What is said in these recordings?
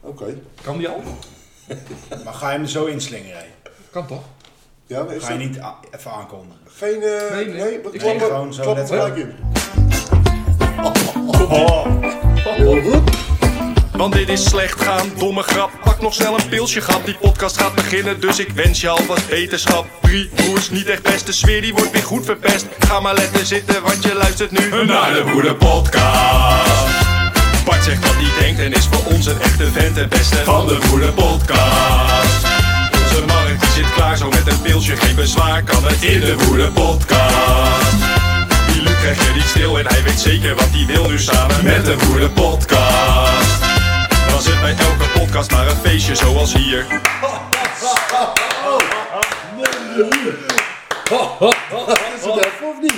Oké. Kan die al? Maar ga je hem zo inslingeren? hè? Kan toch? Ja, maar is Ga je dat niet a- even aankondigen? geen... eh, Nee, nee, nee. maar klap Ik denk maar- gewoon zo klap net er zo. gelijk in. Want dit is slecht gaan, domme grap. Pak nog snel een pilsje, grap. Die podcast gaat beginnen, dus ik wens je al wat beterschap. Drie broers, niet echt best. De sfeer die wordt weer goed verpest. Ga maar letten zitten, want je luistert nu naar de Boede Podcast. Bart zegt wat hij denkt en is voor ons een echte vent en beste van de Boede Podcast. Onze markt die zit klaar, zo met een pilsje, geen bezwaar kan het in de Boede Podcast. Die Luc krijgt je niet stil en hij weet zeker wat hij wil nu samen met de Boede Podcast. Was het bij elke podcast maar een feestje zoals hier? Is het even of niet?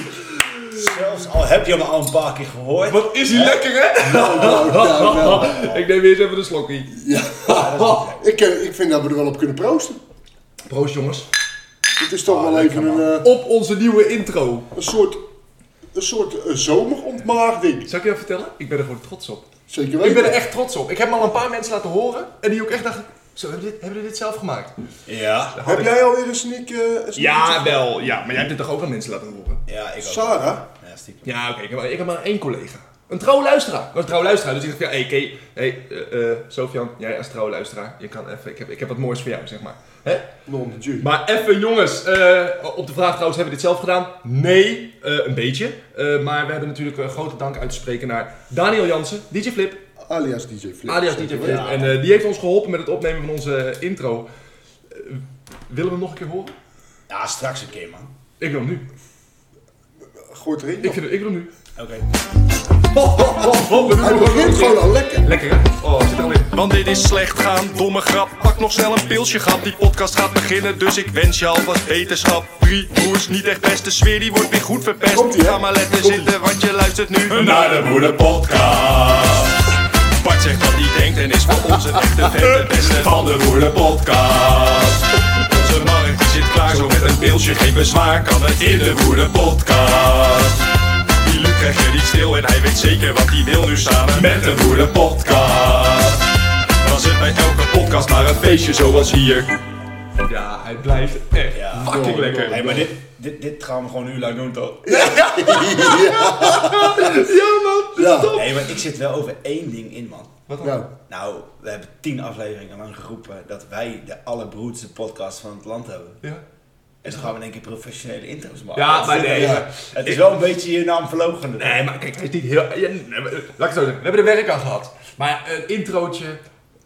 Zelfs al heb je hem al een paar keer gehoord. Wat is die lekker, hè? Nou, nou, nou. Ik neem eerst even de slokkie. Ik, eh, ik vind dat we er wel op kunnen proosten. Proost, jongens. Het is toch wel even een, eh, Op onze nieuwe intro. een soort, een soort eh, zomerontmaagding. Zal ik je dat vertellen? Ik ben er gewoon trots op. Zeker weten. Ik ben er echt trots op. Ik heb hem al een paar mensen laten horen. En die ook echt dachten, zo, hebben jullie dit, hebben jullie dit zelf gemaakt? Ja. Heb jij alweer een sneak? eh, een sneak Ja, wel. Ja, maar jij hebt dit toch ook aan mensen laten horen? Ja, ik ook. Sarah? Ja, stiekem. Ja, oké. ik heb maar- ik heb maar één collega. Een trouwe luisteraar. Ik was een trouwe luisteraar. Dus ik dacht, ja, hey, Kay, hey, eh, eh, Sofian, jij als trouwe luisteraar. Je kan even, ik heb, ik heb wat moois voor jou, zeg maar. Hè? Non de Maar even jongens, eh, op de vraag trouwens, hebben we dit zelf gedaan? Nee, eh, een beetje. Eh, maar we hebben natuurlijk een grote dank uit te spreken naar Daniel Jansen, DJ Flip, Alias DJ Flip. alias DJ Flip. En eh, die heeft ons geholpen met het opnemen van onze intro. Eh, willen we hem nog een keer horen? Ja, straks een keer, man. Ik wil hem nu. Gooit erin. Ik, joh. vind, hem- ik wil hem nu. Oké. we doen Hij begint gewoon al lekker. Nou, Lekker hè? Oh, zit er al in. Want dit is slecht gaan, domme grap. Pak nog snel een pilsje, grap. Die podcast gaat beginnen, dus ik wens je al wat beterschap. Drie broers, niet echt best. De sfeer die wordt weer goed verpest. Komt-ie, hè? Ga maar letten Komt-ie. zitten, want je luistert nu naar de Boede Podcast. Bart zegt wat hij denkt en is voor ons een echte vent. De beste van de Boede Podcast. Onze markt die zit klaar, zo met een pilsje, geen bezwaar. Kan het in de Boede Podcast. Die Luc krijgt je niet stil en hij weet zeker wat hij wil nu samen met de Boede Podcast. Was het bij elke podcast maar een feestje zoals hier? Ja, hij blijft echt Ja. fucking lekker. Hey, maar dit, dit, dit gaan we gewoon een uur lang doen, toch? Ja man! Ja. Nee, maar ik zit wel over één ding in, man. Wat dan? Nou, Nou, we hebben tien afleveringen lang geroepen dat wij de allerbroedste podcast van het land hebben. Ja. En dan gaan we in één keer professionele intro's maken. Ja, maar nee. Ja. Het is wel een beetje je naam verlogen. Nee, maar kijk, het is niet heel. ja, nee, maar, eh, laat ik het zo zeggen. We hebben er werk aan gehad. Maar eh, een introotje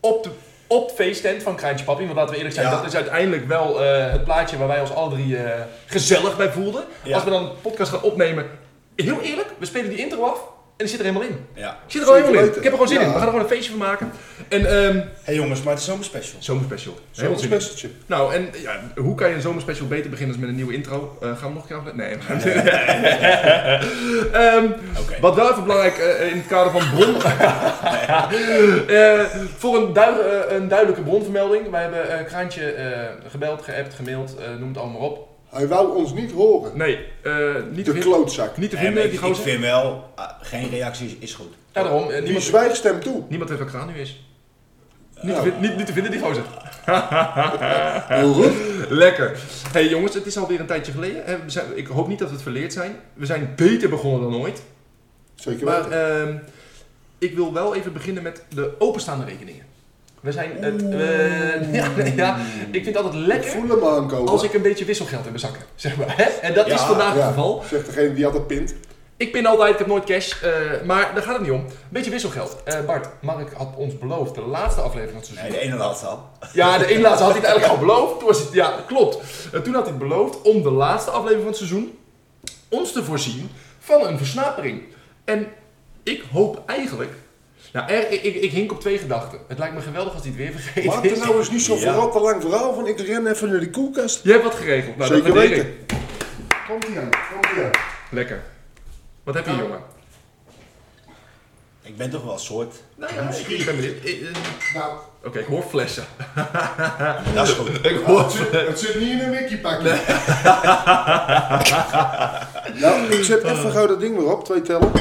op de, op de feesttent van Kraantje Papi. Want laten we eerlijk zijn, Ja. dat is uiteindelijk wel eh, het plaatje waar wij ons alle drie eh, gezellig bij voelden. Ja. Als we dan een podcast gaan opnemen. Heel eerlijk, we spelen die intro af en die zit er helemaal in. Ja. Ik zit er gewoon Zeker helemaal in. Ik weten. heb er gewoon zin Ja. in. We gaan er gewoon een feestje van maken. En ehm Hé hey jongens, maar het is zomerspecial. zomerspecial. Helemaal zo'n zin in. spesseltje. Nou, en eh, ja, hoe kan je een zomerspecial beter beginnen dan met een nieuwe intro? Eh, gaan we nog een keer afle- Nee. Ehm, Oké. Wat wel even belangrijk eh, in het kader van bron... Eh, voor een, duid- eh, een duidelijke bronvermelding. Wij hebben eh, Kraantje eh, gebeld, geappt, gemaild, eh, noem het allemaal maar op. Hij wou ons niet horen. Nee, eh, niet, te De vinden, klootzak. niet te Nee, maar vinden, die ik, ik gozer. vind wel, ah, geen reacties is goed. Ja, daarom. eh, Die niemand, zwijgt stem toe. niemand weet wat Kraan nu is. Niet, te vin- niet, niet te vinden, die gozer. Heel goed. Lekker. Hey jongens, het is alweer een tijdje geleden. Eh, we zijn- ik hoop niet dat we het verleerd zijn. We zijn beter begonnen dan ooit. Zeker Maar weten. ehm, ik wil wel even beginnen met de openstaande rekeningen. We zijn het. eh, ja, nee, ja, ik vind het altijd Ik lekker voel hem aankomen. als ik een beetje wisselgeld in mijn zakken. Zeg maar. hè? En dat Ja, is vandaag het Ja, geval. Zegt degene die altijd pint. Ik pin altijd, ik heb nooit cash. eh, maar daar gaat het niet om. Een beetje wisselgeld. Eh, Bart, Mark had ons beloofd, de laatste aflevering van het seizoen. Nee, de ene laatste al. Ja, de ene laatste had hij het eigenlijk al beloofd. Toen was het, ja, klopt. En toen had hij het beloofd om de laatste aflevering van het seizoen ons te voorzien van een versnapering. En ik hoop eigenlijk. Nou, er, ik, ik, ik hink op twee gedachten. Het lijkt me geweldig als hij het weer vergeet. Maak er nou eens niet zo'n Ja. verrat te lang verhaal van. Ik ren even naar die koelkast. Je hebt wat geregeld. Nou, Zeker dat waardeer weten. ik. Komt ie aan. Komt ie aan. Lekker. Wat heb je, Nou, jongen? Ik ben toch wel een soort. Nou ja, ik, ik ben benieuwd. Ik- eh, Nou, Oké, ik hoor flessen. Dat is goed. Ik hoor flessen. het zit niet in een wikipakje. nou, ik zet even gauw dat ding weer op. Twee tellen.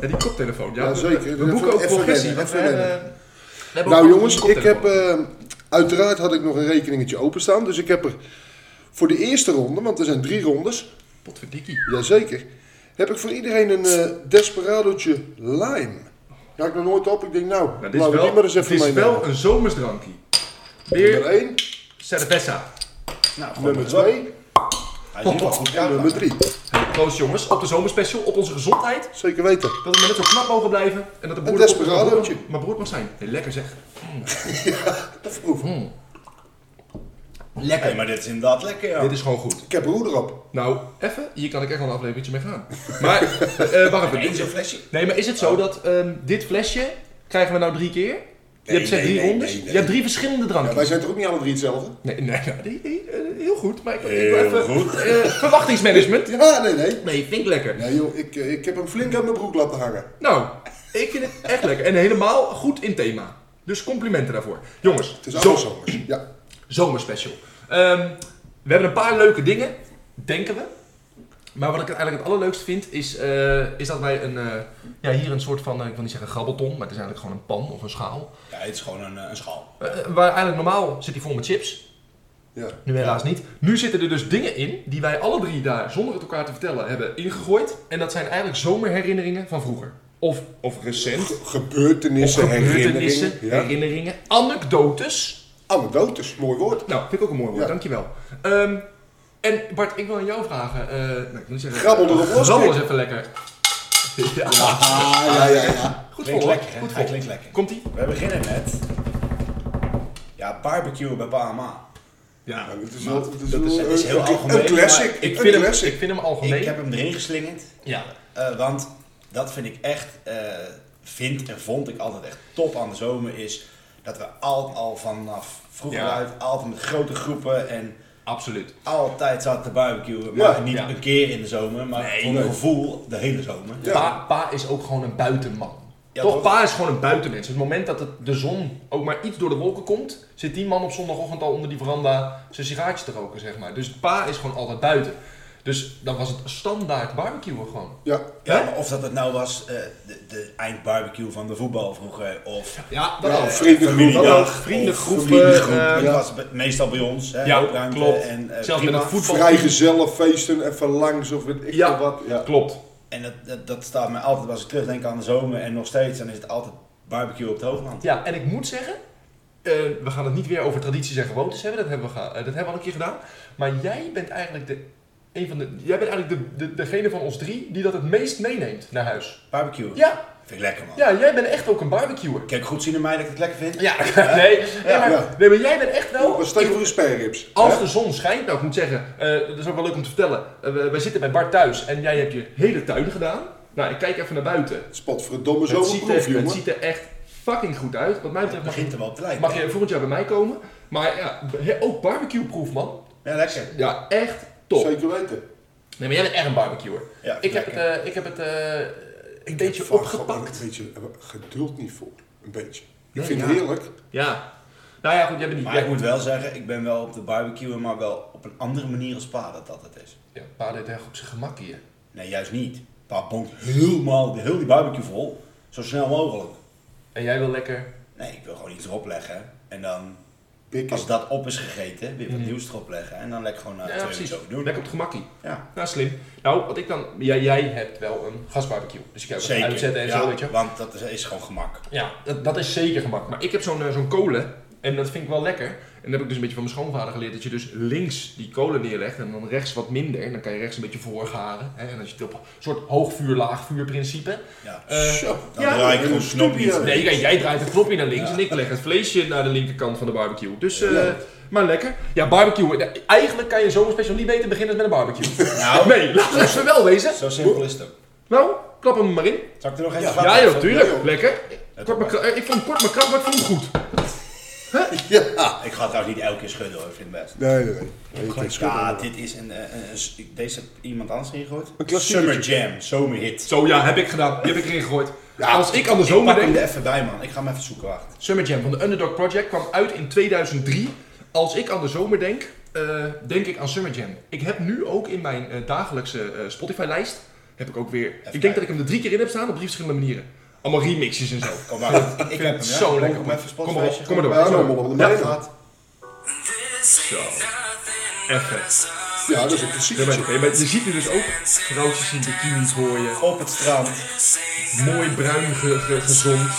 Ja, die koptelefoon. Ja, Ja, zeker. We Even- boeken ook even progressie. wennen, want we even hebben- hebben Nou ook jongens, een ik heb, koptelefoon. eh, uiteraard had ik nog een rekeningetje openstaan. Dus ik heb er voor de eerste ronde, want er zijn drie rondes, Potverdikkie. jazeker, heb ik voor iedereen een eh desperadootje lime. Ja, ik nog nooit op. Ik denk, nou, Nou, dit is laten we wel, die maar eens even dit is meenemen. wel een zomersdrankje. Nummer Weer 1, cerveza. Nou, gewoon nummer maar 2 Hij is hier wel goed en klaar. nummer 3. Proost jongens, op de zomerspecial, op onze gezondheid. Zeker weten. Dat we maar net zo knap mogen blijven. En dat de broer desperadootje. Maar broer mag zijn. Hey, lekker zeg. Even proeven. Hmm. Lekker. maar dit is inderdaad lekker, ja. Dit is gewoon goed. Ik heb roer erop. Nou, even. Hier kan ik echt wel een afleveringetje mee gaan. Maar, eh wacht even. Eén zo'n flesje. Nee, maar is het zo dat ehm, dit flesje krijgen we nou drie keer? je hebt zeg nee, drie nee, rondes. nee, nee. Je hebt drie verschillende dranken. Wij zijn toch ook niet alle drie hetzelfde? Nee, nee, nee, nee, nee, eh, heel goed. Maar ik, ik Heel wil even goed. eh, verwachtingsmanagement. Ja, nee, nee. Nee, vind ik lekker. Nee joh, ik, eh, ik heb hem flink uit mijn broek laten hangen. Nou, ik vind het echt lekker. En helemaal goed in thema. Dus complimenten daarvoor. Jongens, Het is zo- allemaal zomers. Ja. zomerspecial. Ehm, we hebben een paar leuke dingen, denken we. Maar wat ik eigenlijk het allerleukste vind, is, eh, is dat wij een, eh, ja, hier een soort van, eh, ik wil niet zeggen grabbelton, maar het is eigenlijk gewoon een pan of een schaal. Ja, het is gewoon een, eh, een schaal. Eh, waar eigenlijk normaal zit die vol met chips, ja. nu helaas niet. Nu zitten er dus dingen in die wij alle drie daar zonder het elkaar te vertellen hebben ingegooid. En dat zijn eigenlijk zomerherinneringen van vroeger. Of, of recent. Gebeurtenissen, Gebeurtenissen, herinneringen. Ja. herinneringen, anekdotes. Anekdotes, mooi woord. Nou, vind ik ook een mooi woord, Ja. dankjewel. Ehm, en Bart, ik wil aan jou vragen. eh, nou, ik wil niet zeggen, Grabbel erop los, Grabbel kijk. eens even lekker. Ja, Ah, ja, ja, ja. goed Klinkt voor. lekker, hè? goed Hij voor. klinkt lekker. Komt ie? We beginnen met... Ja, barbecue bij Bahama. Ja. Het is Maar wel- het is dat is- wel het is een- heel een- algemeen, Een classic. maar Ik een vind, hem, classic. ik vind hem Ik algemeen. heb hem erin geslingerd. Ja. Eh, want dat vind ik echt, eh, vind en vond ik altijd echt top aan de zomer is dat we altijd al vanaf vroeger Ja. uit, altijd met grote groepen en Absoluut. altijd zaten te barbecuen. Ja. Maar niet Ja. een keer in de zomer, maar Nee, voor nee. mijn gevoel de hele zomer. Ja. Pa, pa is ook gewoon een buitenman. Ja, toch? toch? Pa is gewoon een buitenmens. Dus het moment dat het, de zon ook maar iets door de wolken komt, zit die man op zondagochtend al onder die veranda zijn sigaartje te roken, zeg maar. Dus pa is gewoon altijd buiten. Dus dan was het standaard barbecuen gewoon. Ja. Ja, Hè? maar of dat het nou was eh, de, de eindbarbecue van de voetbal vroeger of Ja, dat Ja, al. vrienden familiedag, goed. vriendengroepen, of familiegroep. eh, dat ja. was be- meestal bij ons. Hè, Ja, opruimte klopt. En, eh, Zelfs met prima. het voetbal. Vrijgezellig feesten, even langs of weet ik Ja. veel wat. Ja. Klopt. en dat, dat, dat staat mij altijd, als ik terugdenk aan de zomer en nog steeds, dan is het altijd barbecue op het hoogland. Ja, en ik moet zeggen, eh, we gaan het niet weer over tradities en gewoontes hebben, dat hebben we, ga- eh, dat hebben we al een keer gedaan. Maar jij bent eigenlijk de, een van de, jij bent eigenlijk de, de, degene van ons drie die dat het meest meeneemt naar huis. Barbecue. Ja, Vind ik lekker man. ja jij bent echt ook een barbecuer. Kijk goed zien in mij dat ik het lekker vind. Ja, nee, nee, maar, Ja. Oh, nee, maar jij bent echt wel... Wat stel je voor een spareribs? Oh, Als hè? de zon schijnt, nou ik moet zeggen, eh, dat is ook wel leuk om te vertellen. Eh, we, we zitten bij Bart thuis en jij hebt je hele tuin gedaan. Nou, ik kijk even naar buiten. Spatverdomme Het ziet, zomerproef, er, het jongen. ziet er echt fucking goed uit. Wat mij Het betreft mag je begint er wel op te lijken. Mag je volgend jaar bij mij komen? Maar ja, he- ook barbecueproef, man. Ja, lekker. Ja, echt top. Nee, Zeker weten. maar jij bent echt een barbecuer. Ja, ik, heb het, lekker. eh, ik heb het eh, een beetje Vaak gewoon opgepakt. Een beetje eh, geduld niet voor. Een beetje. Ik Nee, vind ja. het heerlijk. Ja. Nou ja, goed, jij bent niet... Maar jij- ik moet wel zeggen, ik ben wel op de barbecue, maar wel op een andere manier als pa dat dat het is. Ja, pa deed echt op zijn gemak hier. Nee, juist niet. Pa bonkt helemaal heel die barbecue vol, zo snel mogelijk. En jij wil lekker... Nee, ik wil gewoon iets erop leggen en dan, Pikken. als dat op is gegeten, weer wat nieuws erop leggen en dan lekker gewoon naar Ja, twee uur precies. zo doen. Lekker op het gemakkie. Ja, Nou, slim. Nou, wat ik dan... Jij, jij hebt wel een gasbarbecue. Dus ik heb het zeker. uitzetten en Ja, zo, weet je. Want dat is, is gewoon gemak. Ja, dat, dat is zeker gemak. Maar ik heb zo'n eh, zo'n kolen en dat vind ik wel lekker. En dat heb ik dus een beetje van mijn schoonvader geleerd. Dat je dus links die kolen neerlegt en dan rechts wat minder. En dan kan je rechts een beetje voorgaren. Hè? En als je het op een soort hoogvuur, laagvuur principe. Ja. Oh. Eh, Zo. Dan ja. draai ik Een gewoon snop stupje. niet. Nee, kijk, jij draait het knopje naar links en ik leg het vleesje naar de linkerkant van de barbecue. Dus, eh, Ja. maar lekker. Ja, barbecue. Ja, Eigenlijk kan je zo'n special niet beter beginnen dan met een barbecue. Nou, Nee, laten we even wel wezen. zo simpel is het ook. Nou, klap hem maar in. Zal ik er nog Ja. even van Ja joh, maken? tuurlijk. Lekker. Het Kort maar, kra- eh, ik vond hem kort maar krap, maar ik vond hem goed. Ja. Ik ga trouwens niet elke keer schudden hoor, ik vind het best. Nee, nee, nee. nee. ik denk schudden. Ja, dit is een, eh, een, een- Deze heeft iemand anders ingegooid. Een klassiekertje. Summer Jam, zomerhit. Zo ja, heb ik gedaan. Die heb ik erin gegooid. Als ik aan de zomer Pak hem denk... er even bij, man. Ik ga hem even zoeken, wacht. Summer Jam van de Underdog Project kwam uit in 2003. Als ik aan de zomer denk, eh, denk ik aan Summer Jam. Ik heb nu ook in mijn eh, dagelijkse eh, Spotify-lijst... heb ik ook weer... ik denk kijken. dat ik hem er drie keer in heb staan op drie verschillende manieren. Allemaal remixjes en zo. Kom maar. Ik Ik vind heb het hem, zo ja. lekker. Kom man. even Kom maar Spotify. op, kom maar door. Ja, Zo. nou, man, de ja. Gaat. Zo. Even. ja, dat is een klassiek. Ja, maar- maar je ziet nu dus ook vrouwtjes in bikinis hoor je. Op het strand. Mooi bruin ge- ge- gezond.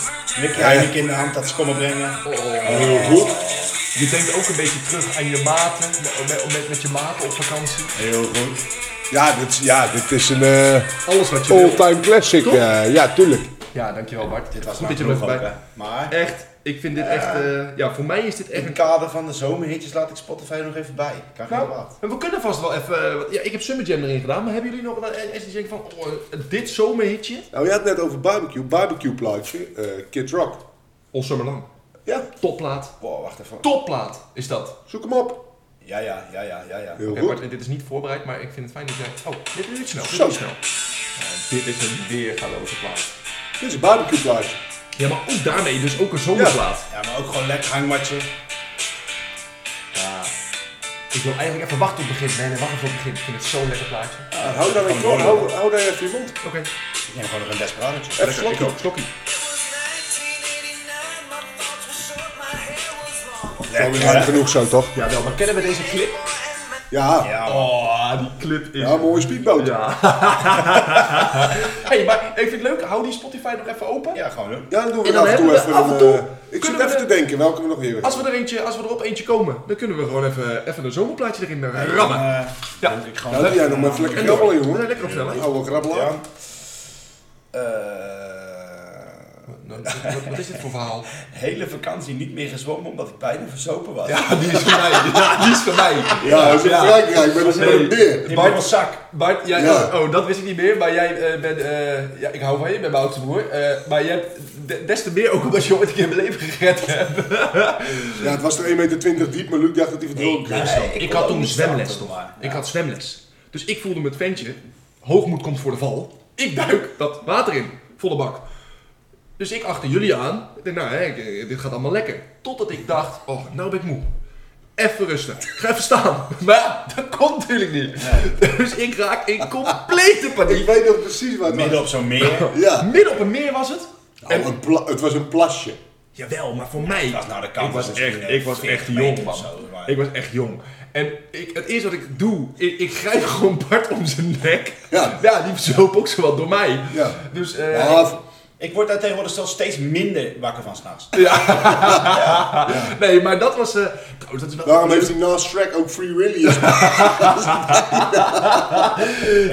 Nick Reinik in de hand dat ze komen brengen. Heel goed. Je denkt ook een beetje terug aan je maten, met, met, met je maten op vakantie. Heel goed. Ja, dit, is- ja, dit is een eh Alles wat je wil. all-time classic. Toch? eh, ja, tuurlijk. Ja, dankjewel Bart. Dit was goed nou dat je genoeg er ook, bij. hè. Maar Echt, ik vind dit echt, eh, ja, voor mij is dit in echt het een... kader van de zomerhitjes laat ik Spotify er nog even bij. Kan geen Nou, wat. en we kunnen vast wel even, eh, wat- ja, ik heb Summer Jam erin gedaan, maar hebben jullie nog wel eens die denken van, oh, eh, dit zomerhitje? Nou, je had het net over barbecue. Barbecue plaatje, eh, Kid Rock. Ons Summerlang. Ja, Topplaat. Wow, wacht even. Topplaat is dat. zoek hem op. Ja, ja, ja, ja, ja, ja. Heel Oké, goed. Bart, dit is niet voorbereid, maar ik vind het fijn dat jij... Oh, dit is snel, dit Zo. is snel. Ja, dit is een weergaloze plaat. Dit is een barbecue plaatje. Ja, maar ook daarmee dus ook een zomerplaat. Ja, maar ook gewoon lekker hangmatje. Ik wil eigenlijk even wachten op het begin. Nee, nee, wacht even op het begin. Ik vind het zo'n lekker plaatje. Ah, hou daar even- mooi. hou- hou daar even je mond. Oké. Ik neem gewoon nog een desperadotje. Even slokje. Slokkie. Dat is lang genoeg zo, toch? Ja, wel. Maar kennen we deze clip? Ja, Ja, man. Oh, die clip is... ja mooie speedboot. Ja. Ja. hey, maar ik vind het leuk. Hou die Spotify nog even open. ja, gewoon doen. dan doen we En af dan en toe hebben we even af en een... toe- eh, ik zit kunnen we even te de- denken, welke we nog weer Als we, er eentje, als we er op eentje komen, dan kunnen we gewoon even, even een zomerplaatje erin eh, rammen. Dan, eh, Ja. denk ik gewoon Nou, doe jij nog maar even lekker grabbelen, Nee, jongen. lekker op snelheid. Oude grabbelaar. Ja. Eh, Nou, Wat, wat is dit voor verhaal? hele vakantie niet meer gezwommen omdat ik bijna verzopen was. Ja, die is voor mij. Ja, die is voor mij. Ja, dat is in Ja. Frankrijk, maar dat is met een beer. In mijn zak. Bart, jij, Ja. oh, dat wist ik niet meer, maar jij eh, bent, eh, ja, ik hou van je, ik ben mijn oudste broer, eh, maar jij hebt de- des te meer ook omdat je ooit een keer mijn leven gered hebt. Ja, het was er 1,20 meter diep, maar Luc dacht dat hij verdronken was. Ik, kon had ook toen niet zwemles starten, toch? maar, Ik ja. had zwemles. Dus ik voelde met ventje, hoogmoed komt voor de val. Ik duik dat water in, volle bak. Dus ik achter jullie aan. Ik denk, nou, hè, ik- dit gaat allemaal lekker. Totdat ik dacht, oh, nou ben ik moe. Even rusten. Ik ga even staan. Maar ja, dat kon natuurlijk niet. Dus ik raak in complete Ik paniek. weet nog precies waar het Midden was. op zo'n meer. Ja. Midden op een meer was het. Nou, een pla- het was een plasje. Jawel, maar voor mij. was nou de kant ik was was echt, misschien, eh, ik was 40 echt jong, meter man. of zo, maar- Ik was echt jong. En ik, het eerste wat ik doe, ik, ik grijp gewoon Bart om zijn nek. Ja. die zoop ook zo wat door mij. Ja. Dus, eh, Ja, Ik word daar tegenwoordig zelfs steeds minder wakker van s'nachts. Nee, maar dat was. eh, trouwens, dat is wel. daarom heeft hij naast Shrek ook Free Willy. gespeeld.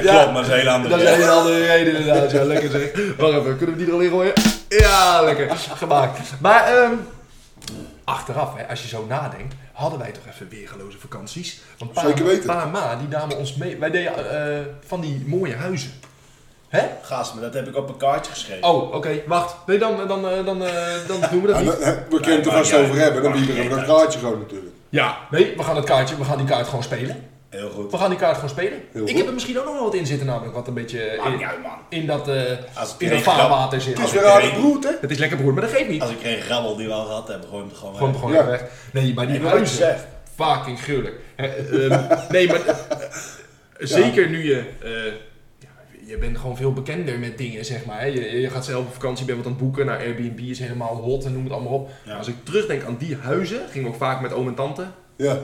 Ja. maar dat is een hele andere Dat is een hele andere reden inderdaad. Ja, lekker zeg. Wacht even, kunnen we die er al in gooien? Ja, lekker. Gemaakt. Maar ehm, achteraf, hè, als je zo nadenkt, hadden wij toch even weergeloze vakanties. Want pa, Zeker weten. pa en ma, die namen ons mee. Wij deden eh, van die mooie huizen. Hè? Gast, maar dat heb ik op een kaartje geschreven. Oh, oké, wacht. Nee, dan, dan, eh, dan, eh, dan doen we dat Ja, niet. dan- hè, we kunnen het er vast Ja, maar- over hebben, dan maar- bieden we dat kaartje gewoon natuurlijk. Ja, nee, we gaan het kaartje, we gaan die kaart gewoon spelen. Heel goed. We gaan die kaart gewoon spelen. goed. Ik heb er misschien ook nog wel wat in zitten, namelijk wat een beetje eh, Maakt in, niet uit, man. in dat, eh Als het in dat regent, dan- vaarwater zit. Het is ik weer aan de weet- broed, hè? Het is lekker broer, maar dat geeft niet. Als ik geen grabbel die we al gehad hebben, gooi hem er gewoon eh, Gewoon, weg. gewoon Ja. weg. Nee, maar die Ik had het huizen. gezegd. Fucking gruwelijk. Hè, ehm, nee, maar eh, zeker nu je. eh, ja, je bent gewoon veel bekender met dingen, zeg maar. hè. Je, je gaat zelf op vakantie, bent wat aan het boeken. Nou, Airbnb is helemaal hot en noem het allemaal op. Ja. Als ik terugdenk aan die huizen, ging ik ook vaak met oom en tante. Ja.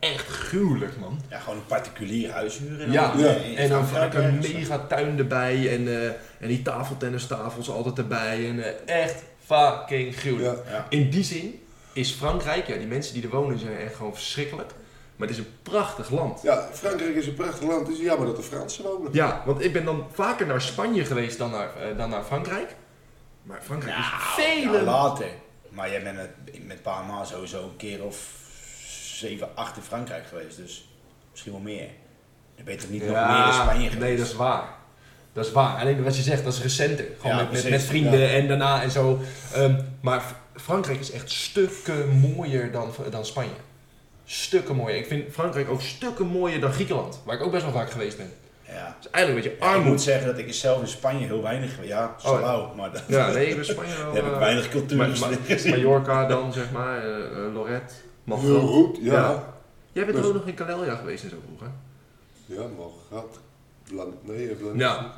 Echt gruwelijk, man. Ja, gewoon een particulier huis huren. en Ja, dan- Ja. in en dan vaak Frankrijk een ergens. mega tuin erbij. En, eh, en die tafeltennistafels altijd erbij. En eh, echt fucking gruwelijk. Ja. Ja. In die zin is Frankrijk, ja, die mensen die er wonen zijn echt gewoon verschrikkelijk. Maar het is een prachtig land. ja, Frankrijk is een prachtig land. Het is jammer dat de Fransen wonen. Ja, want ik ben dan vaker naar Spanje geweest dan naar, eh, dan naar Frankrijk. Maar Frankrijk is Nou, vele... Ja, later. Maar jij bent met, met pa en ma sowieso een keer of 7, 8 in Frankrijk geweest, dus misschien wel meer. Dan ben je toch niet nog meer in Spanje geweest? nee, dat is waar. Dat is waar. Alleen wat je zegt, dat is recenter. Gewoon Ja, met, met, precies, met vrienden ja. en daarna en zo. Ehm, maar F- Frankrijk is echt stukken mooier dan, dan Spanje. Stukken mooier. Ik vind Frankrijk ook stukken mooier dan Griekenland. Waar ik ook best wel vaak geweest ben. Ja. Dus eigenlijk een beetje Ik moet armoed. zeggen dat ik is zelf in Spanje heel weinig geweest. Ja, Oh, ja. Salau, maar dat, Ja, nee, ik ben Spanje wel... daar heb ik eh, weinig cultuur Ma- Ma- gezien. Mallorca dan, zeg maar. eh, eh, Lorette. Heel Madrid. goed, ja. Ja. Ja, Jij bent Dus- ook nog in Calella geweest en zo vroeger. maar gat. Blank, nee, blank. Ja.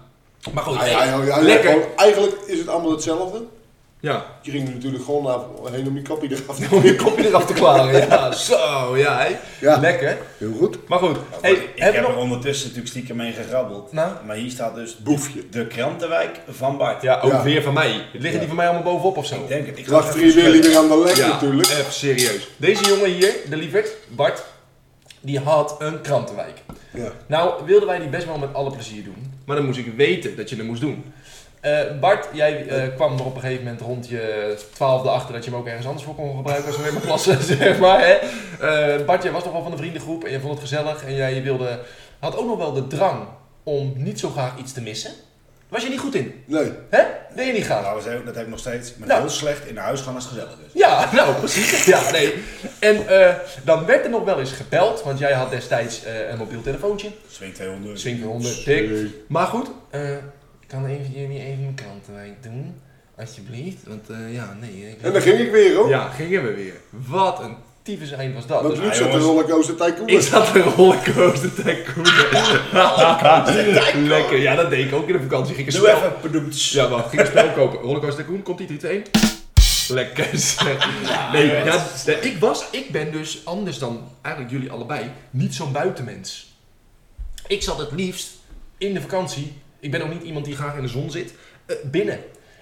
Maar goed, Hij- hey, hij- hij- hij- lekker. gewoon- eigenlijk is het allemaal hetzelfde. Ja. Je ging er natuurlijk gewoon naar, heen om die kappie eraf Nou, te Om je kopje eraf te klaren. Ja, zo, ja. hè. Ja. Lekker. Heel goed. Maar goed, hey, ik heb je er nog... ondertussen natuurlijk stiekem mee gegrabbeld. Nou? Maar hier staat dus Boefje. de krantenwijk van Bart. Ja, ook Ja. weer van mij. Liggen die van mij allemaal bovenop of zo? Ik denk het. Ik ga Lag het drie even weer spelen. weer aan de lek Ja, natuurlijk. even serieus. Deze jongen hier, de lieverd, Bart, die had een krantenwijk. Ja. Nou wilden wij die best wel met alle plezier doen, maar dan moest ik weten dat je het moest doen. Eh, Bart, jij eh, kwam er op een gegeven moment rond je twaalfde achter dat je hem ook ergens anders voor kon gebruiken als we in mijn klasse, zeg maar. Hè? Eh, Bart, jij was nog wel van de vriendengroep en je vond het gezellig en jij wilde, had ook nog wel de drang om niet zo graag iets te missen. Was je niet goed in, Nee. hè? Deed je niet graag. Nou, we zeggen, dat heb ik nog steeds. Maar Nou. heel slecht in de huis gaan als het gezellig is. Ja, nou precies. Ja, nee. En eh, dan werd er nog wel eens gebeld, want jij had destijds eh, een mobiel telefoontje. Swing 200. Zwinker 100, tik. Maar goed, eh, kan een van jullie even een krantenwijk doen? Alsjeblieft. Want eh, ja, nee. ik- En dan ging ik weer hoor. Ja, gingen we weer. Wat een tyfus eind was dat. Want Dus Luc zat de Dus jongens. rollercoaster ik tycoon. zat een rollercoaster tycoon. Lekker, ja dat deed ik ook in de vakantie. Ging ik een Doe spel- even bedoemd. ja, wacht. Ging een spel kopen. Rollercoaster Tycoon, komt die 3, 2, 1. Lekker zeg. Nee, ja, nee, ik, was, ik ben dus anders dan eigenlijk jullie allebei niet zo'n buitenmens. Ik zat het liefst in de vakantie. Ik ben ook niet iemand die graag in de zon zit. eh, binnen.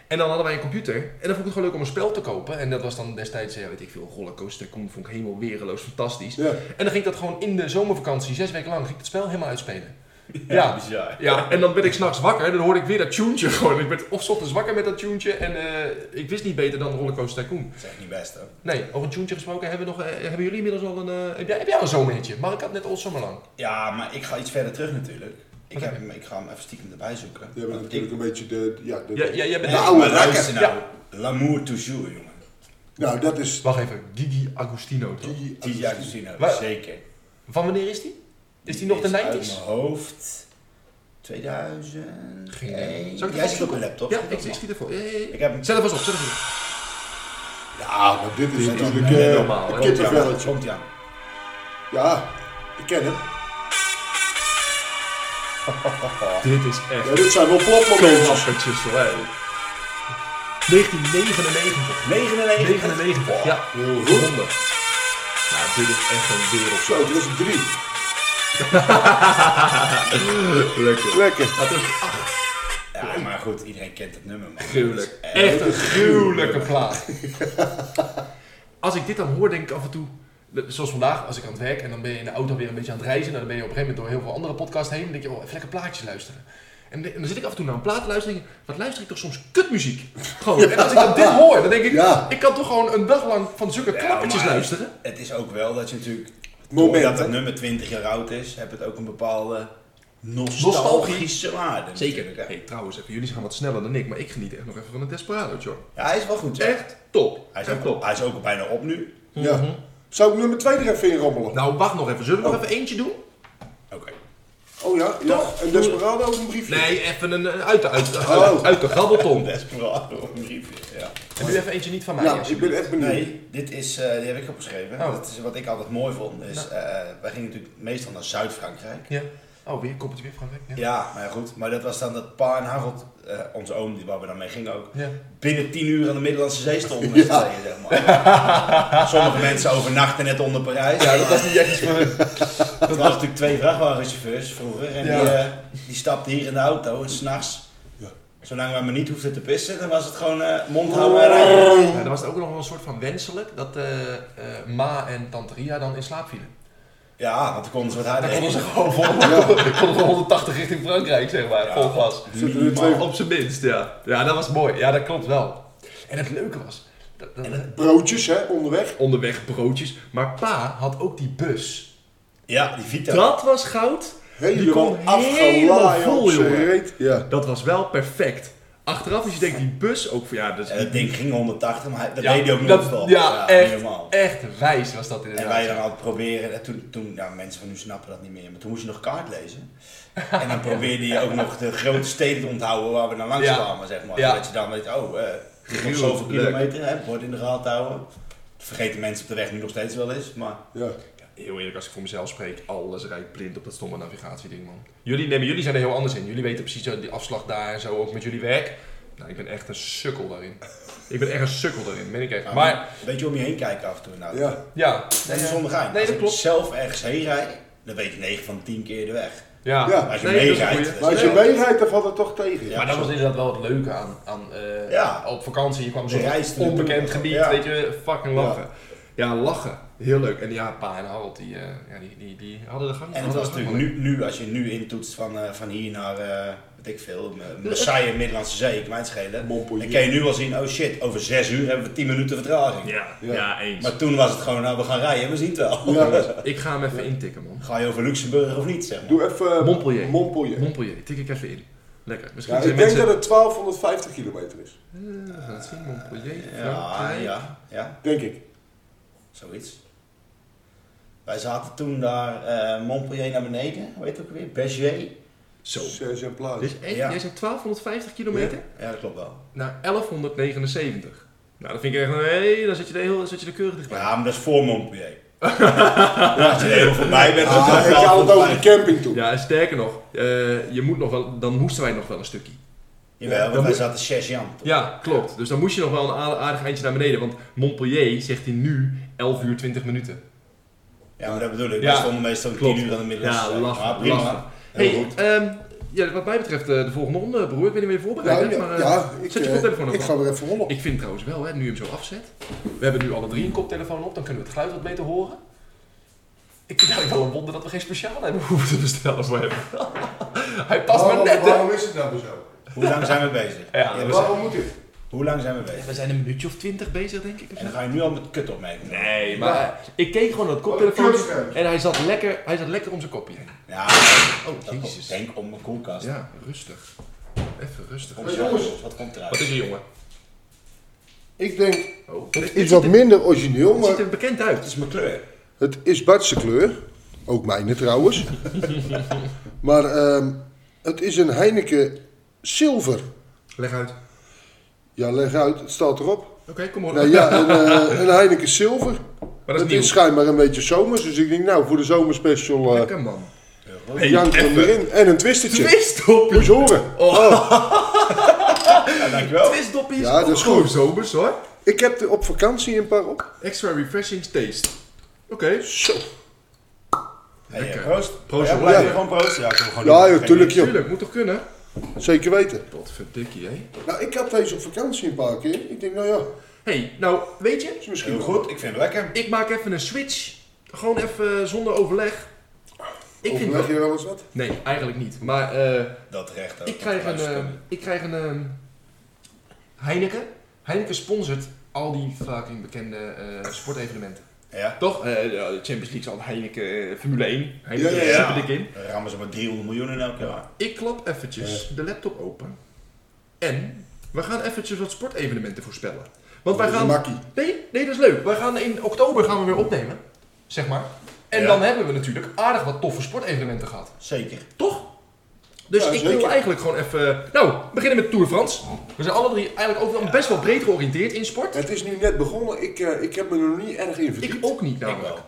En dan hadden wij een computer. En dan vond ik het gewoon leuk om een spel te kopen. En dat was dan destijds, eh, weet ik veel, Rollercoaster Tycoon. Vond ik helemaal wereloos fantastisch. Ja. En dan ging ik dat gewoon in de zomervakantie, zes weken lang, ging ik het spel helemaal uitspelen. Ja, bizar. Ja, en dan werd ik s'nachts wakker en dan hoorde ik weer dat tuentje gewoon. Ik werd of 's ochtends wakker met dat tuentje en eh, ik wist niet beter dan Rollercoaster Tycoon. Dat is echt niet best hoor. Nee, over een tuentje gesproken, hebben, we nog, eh, hebben jullie inmiddels al een... eh, heb, jij, heb jij al zo'n beetje? Maar ik had net al zomerlang. Ja, maar ik ga iets verder terug natuurlijk. Ik, Wat heb heb hem, ik ga hem even stiekem erbij zoeken. Jij bent Want natuurlijk ik, een beetje de... Ja, de Ja, ja, jij bent Nee, oude maar rakker. luister nou. L'amour toujours, jongen. Nou, dat is... Wacht even, Gigi Agostino toch? Die, Titi Agostino, Waar- zeker. Van wanneer is die? Is die nog de uit 90s? mijn hoofd. 2000. Geen idee. Zal ik Eh, Jij het zit ook een laptop. Ja, Zit ik, ook ik nog. schiet ervoor. Ja, ja, ja. Ik heb hem. Zet er vast op, zet er vast op. ja, maar dit is is natuurlijk niet eh, normaal, hè? een Komt-ie aan, kippenvelletje. Komt-ie aan. Ja, ik ken hem. Dit is Ja, echt dit zijn wel plopmomenten. klappertjes hoor. hè. 1999. 99. 99, ja. Heel goed. Ronde. Nou, dit is echt een wereld. Zo, dit was een drie. Lekker. Lekker. Dat is echt Ja, maar goed, iedereen kent het nummer, man. gruwelijk. Dat is Echt een gruwelijke plaat. Als ik dit dan hoor, denk ik af en toe... Zoals vandaag, als ik aan het werk en dan ben je in de auto weer een beetje aan het reizen. Nou, dan ben je op een gegeven moment door heel veel andere podcasts heen. Dan denk je, oh, even lekker plaatjes luisteren. En, de- en dan zit ik af en toe naar een plaat te luisteren en denk ik, wat luister ik toch soms kutmuziek? Gewoon. En als ik dan dit hoor, dan denk ik, Ja. ik kan toch gewoon een dag lang van zulke Ja, klappertjes maar luisteren? Het is ook wel dat je natuurlijk, Moment, doordat hè? het nummer 20 jaar oud is, heb het ook een bepaalde Nostalgische nostalgische waarde. natuurlijk, hè. Hey, trouwens, even, jullie gaan wat sneller dan ik, maar ik geniet echt nog even van een Desperado, joh. Ja, hij is wel goed. zeg. Echt top. Hij is, echt ook, top. hij is ook al bijna op nu. Ja. Mhm. Zou ik nummer twee er even in rommelen? Nou, wacht nog even. Zullen we nog even eentje doen? Oké. Oh ja, ja. Toch? En Desperado ook een briefje? Nee, even een eh, uit de, uit de, Oh. uit de grabbelton. Desperado, een briefje. Ja. En nu even eentje niet van mij. Nou, ik alsjeblieft. ben echt benieuwd. Nee, dit is, eh, die heb ik opgeschreven. Oh. Dat is wat ik altijd mooi vond. Is, eh, wij gingen natuurlijk meestal naar Zuid-Frankrijk. Ja. Oh, weer koppeltje weer Frankrijk. Ja. Ja, maar ja, goed. Maar dat was dan dat Pa en Harold, eh, onze oom die waar we dan mee gingen ook, Ja. binnen tien uur aan de Middellandse Zee stonden. met z'n tweeën, zeg maar. Sommige mensen overnachten net onder Parijs. Ja, dat was niet echt iets voor hun. Dat was natuurlijk twee vrachtwagenchauffeurs vroeger. En die, eh, die stapten hier in de auto en s'nachts, zolang wij maar niet hoefden te pissen, dan was het gewoon eh mond houden en rijden. Ja, Nou, dan was het ook nog wel een soort van wenselijk dat eh, eh, Ma en Tante Ria dan in slaap vielen. Ja, want dan konden ze wat harder Dan konden ze rijden. gewoon vol, konden gewoon 180 richting Frankrijk, zeg maar, vol gas. Zitten er twee Op zijn minst, ja. Ja, dat was mooi. Ja, dat klopt wel. En het leuke was, dat, dat- broodjes hè, onderweg. onderweg broodjes, maar pa had ook die bus. Ja, die Vita. Dat was goud. die Helemaal kon helemaal afgelaaid op vol, zijn jongen. reet. Ja. Dat was wel perfect. Achteraf, als je denkt, die bus ook van ja, dat is En niet- dat Eh, ding ging 180, maar hij- dat Ja, deed hij ook dat- nog wel. Ja, echt, helemaal. echt wijs was dat inderdaad. En wij dan altijd proberen, en toen, toen nou, mensen van nu snappen dat niet meer, maar toen moest je nog kaart lezen. En dan probeerde je ook nog de grote steden te onthouden waar we naar langs Ja. kwamen, zeg maar. Ja. Dat je dan weet, oh, eh, het is nog Gruwelijk. zoveel kilometer, hè, bord in de gaten houden. Dat vergeten mensen op de weg nu nog steeds wel eens, maar Ja. ja, heel eerlijk, als ik voor mezelf spreek, alles rijdt blind op dat stomme navigatieding, man. Jullie, nee, maar jullie zijn er heel anders in. Jullie weten precies eh, die afslag daar en zo, ook met jullie werk. Nou, ik ben echt een sukkel daarin. Ik ben echt een sukkel daarin, ben ik echt. Maar, Een beetje om je heen kijken af en toe. Nou, Ja. ja. Dat is zonder gein. Nee, Als dat ik klopt. zelf ergens heen rijd, dan weet ik 9 van de 10 keer de weg. Ja. Ja. Als je Nee, dat is een meerijdt. goeie. Maar als je meerijdt, dan valt het toch tegen. Ja. maar dat was inderdaad wel het leuke aan, aan eh, Ja. op vakantie. Je kwam De reis zo'n ernaartoe. onbekend gebied, Ja. weet je, fucking lachen. Ja. lachen. Heel leuk. En ja, pa en Harold, die, eh, ja, die, die, die hadden de gang. Oh, En het was natuurlijk nu, nu, als je nu intoetst van, eh, van hier naar, eh weet ik veel, M- Marseille, Middellandse Zee, ik mij het schelen. Montpellier. Dan kan je nu al zien, oh shit, over 6 uur hebben we 10 minuten vertraging. Ja, ja. Ja. eens. Maar toen was het gewoon, nou we gaan rijden, we zien het wel. ik ga hem even intikken, man. Ga je over Luxemburg of niet, zeg maar. Doe even eh, Montpellier. Montpellier. Montpellier, tik ik even in. Lekker. Misschien Ja, ik zijn denk mensen... dat het 1250 kilometer is. Eh, we gaan het zien, Montpellier, Ja, Frankrijk. ja, ja, Denk ik. zoiets. Wij zaten toen daar eh, Montpellier naar beneden, hoe heet het ook weer? Berger. Zo. Zes en plaats. Dus echt, Ja. jij zegt 1250 kilometer Ja, dat klopt wel. naar 1179. Nou, dat vind ik echt... Nee, dan zit je de, heel, zit je de keurig dichtbij. Ja, maar dat is voor Montpellier. ja, als je er helemaal voorbij bent, dan Ah, is ik het had al het over voorbij. de camping toen. Ja, en sterker nog, eh, je moet nog wel, dan moesten wij nog wel een stukje. Jawel, Dan want wij moet- zaten 6 Jan. Ja, klopt. Dus dan moest je nog wel een aard- aardig eindje naar beneden. Want Montpellier zegt hij nu 11 uur 20 minuten. Ja, maar dat bedoel ik. Ja, Wij stonden meestal om 10 uur aan de middellandse Ja, Zee. lachen. Maar prima. lachen. Heel hey, goed. ehm, ja, wat mij betreft eh, de volgende ronde, broer. Ik weet niet meer je voorbereid Ja, hebt, Nou, ja, maar eh, ja, ik, zet je eh, koptelefoon op. ik Ik, ga weer even rollen. vind trouwens wel, hè, nu je hem zo afzet. We hebben nu alle drie een koptelefoon op, dan kunnen we het geluid wat beter horen. Ik vind eigenlijk wel een wonder dat we geen speciaal hebben hoeven te bestellen voor hem. Hij past Oh, maar net, hè. is het nou zo? Hoe lang zijn we bezig? Ja, we zijn- Waarom moet dit? Hoe lang zijn we bezig? We zijn een minuutje of twintig bezig, denk ik. of zo. En dan ga je nu al met kut opmerken. Nee, maar ik keek gewoon naar het Oh, koptelefoon Kunstgreep. en hij zat, lekker, hij zat lekker om zijn kopje heen. Ja, Oh, dat jezus. komt, denk om mijn koelkast. Ja, rustig. Even rustig. Kom, jongens, wat komt eruit? Wat is er, jongen? Ik denk Oh, het iets wat minder origineel, Het ziet maar er bekend uit. is mijn kleur. het is Bartse kleur. Ook mijne trouwens. maar ehm, het is een Heineken zilver. Leg uit. Ja, leg uit. Het staat erop. Oké, kom op. Nou ja, een, eh, een Heineken zilver. maar dat Het is nieuw. is schijnbaar een beetje zomers, dus ik denk nou voor de zomerspecial eh Lekker, man. hey, jank hem erin. En een twistertje. Moet Twistdoppies. je horen. Ja, dankjewel. Twistdoppies. Ja, dat is Oh, goed. zomers, hoor. Ik heb er op vakantie een paar op. Extra refreshing taste. Oké. Zo. Hey, Lekker. eh, proost. Proost, Ja, jongen. blijf Ja. je gewoon proost. Ja, ik wil gewoon Ja, doen. joh, tuurlijk joh. Tuurlijk, moet toch kunnen? Zeker weten. Wat verdikkie, hè. Nou, ik had deze op vakantie een paar keer. Ik denk, nou ja, hey, nou, weet je? is misschien Heel wel goed, ik vind het lekker. Ik maak even een switch. Gewoon even eh, zonder overleg. Ik vind Overleg wel... je wel eens wat? Nee, eigenlijk niet. Maar eh, Dat terecht ook. ik krijg een... eh, ik krijg een... eh, Heineken. Heineken sponsort al die fucking bekende eh, sportevenementen. Ja, Toch? Eh, ja, de Champions League zal Heineken, eh, Formule 1. Heineken Ja, ja, ja, ja. super dik in. dan rammen ze maar 300 miljoen in elk jaar. Ik klap eventjes de laptop open. En we gaan eventjes wat sportevenementen voorspellen. Want wij Dat is gaan... een makkie. Nee, nee, dat is leuk. Wij gaan in oktober gaan we weer opnemen. Zeg maar. En Ja. dan hebben we natuurlijk aardig wat toffe sportevenementen gehad. Zeker. Toch? Dus Ja, ik wil zeker. eigenlijk gewoon even... Nou, we beginnen met de Tour de France. We zijn alle drie eigenlijk ook wel best wel breed georiënteerd in sport. Het is nu net begonnen. Ik, eh, ik heb me er nog niet erg in Ik verdiept. ook niet Ik namelijk. wel.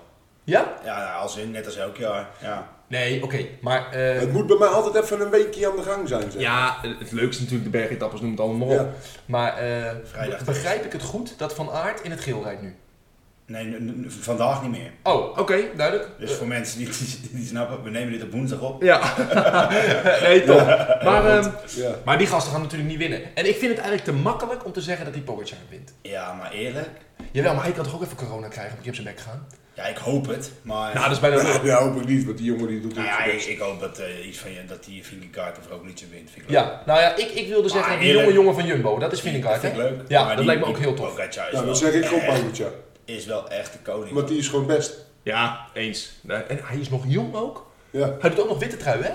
Ja? Ja, nou, als in, net als elk jaar. Ja. Nee, oké. Maar... eh, Het moet bij mij altijd even een weekje aan de gang zijn. Zeg. Ja, het leukste is natuurlijk de bergetappers, noem het allemaal maar op. Ja. Maar eh, Vrijdag be- begrijp ik het goed dat Van Aert in het geel rijdt nu? Nee, n- n- vandaag niet meer. Oh, oké, duidelijk. Dus voor mensen die, die, die snappen, we nemen dit op woensdag op. Ja, nee, top. Maar, ehm, Ja. maar die gasten gaan natuurlijk niet winnen. En ik vind het eigenlijk te makkelijk om te zeggen dat die Pogacar wint. Ja, maar eerlijk. Jawel, maar hij kan toch ook even corona krijgen, want die op zijn bek gaan? Ja, ik hoop het, maar... Nou, dat is bijna... Nou, dat hoop ik niet, want die jongen die doet het Nou ja, voor ik, best. ik hoop dat, eh, iets van je, dat die Vingegaard of ook niet zo wint. Vind ik leuk. Ja, nou ja, ik, ik wilde zeggen, die eerlijk- jonge jongen van Jumbo, dat is Dat Vingegaard, vind ik hè? leuk. Ja, Maar dat die- lijkt me ook die heel tof. Pogacar is Nou, wel dan zeg ik gewoon echt- Pogacar. Is wel echt de koning. Want die is gewoon best. Ja, eens. Nee, En hij is nog jong ook. Ja. Hij doet ook nog witte trui, hè?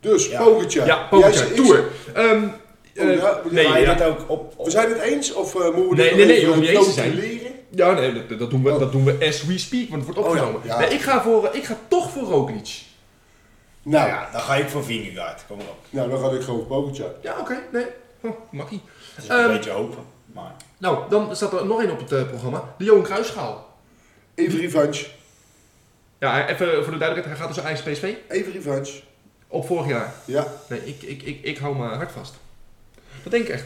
Dus, Ja. Pogacar. Ja, Jij Pogacar, zei- ik- Tour. Ehm, eh, ja, nee, maar ja. dit ook op... op- We zijn het eens? Of eh, moeten we Nee, dit nog nee, nee, even je hoeft niet eens te notuleren? Ja, nee, dat, dat doen we, dat doen we as we speak, want het wordt Oh ja, opgenomen. ja. Nee, ik, ga voor, eh, ik ga toch voor Roglic. Nou, Ja, dan ga ik voor Vingegaard. Kom maar op. nou, dan ga ik gewoon Pogacar. Ja, oké, nee. Huh, makkie. Dat is Ehm, een beetje hopen, maar... nou, dan staat er nog één op het eh, programma. De Johan Cruijffschaal. Even revanche. Ja, hij- even voor de duidelijkheid, hij gaat dus naar Ajax PSV Even revenge. op vorig jaar. Ja. Nee, ik, ik, ik, ik hou mijn hart vast. Dat denk ik echt.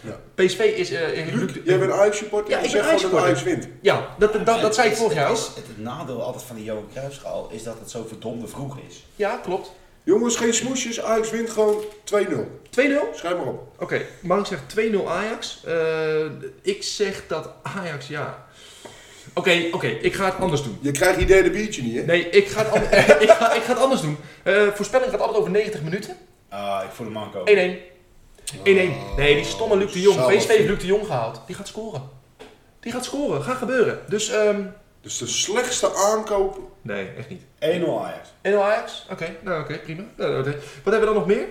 Ja. PSV is... eh in Luc, Luc- jij bent Ajax supporter. Ja, en ik zeg ben gewoon dat Ajax wint. Ja, dat, dat, dat, dat zei ik Het- vorig jaar het ook. is- Het, het nadeel altijd van de Johan Cruijffschaal is dat het zo verdomde vroeg is. Ja, klopt. 2-0? Jongens, geen smoesjes. Ajax wint gewoon 2-0. Oké, Schrijf maar op. Mark zegt 2-0 Ajax. Eh, ik zeg dat Ajax, ja. Oké, oké, ik ga het anders doen. Je krijgt je derde biertje niet, hè? Nee, ik ga het, an- ik ga, ik ga het anders doen. Eh, voorspelling gaat altijd over 90 minuten. 1-1. 1-1. Ah, ik voel hem aankomen. Nee, die stomme Luc de Jong. zou wel PSV heeft Luc de Jong gehaald. Die gaat scoren. Die gaat scoren. Gaat gebeuren. Dus, ehm Dus de slechtste aankoop. nee, echt niet. 1-0 Ajax. 1-0 Ajax? Oké, nou oké, prima. Nou, oké. Wat hebben we dan nog meer?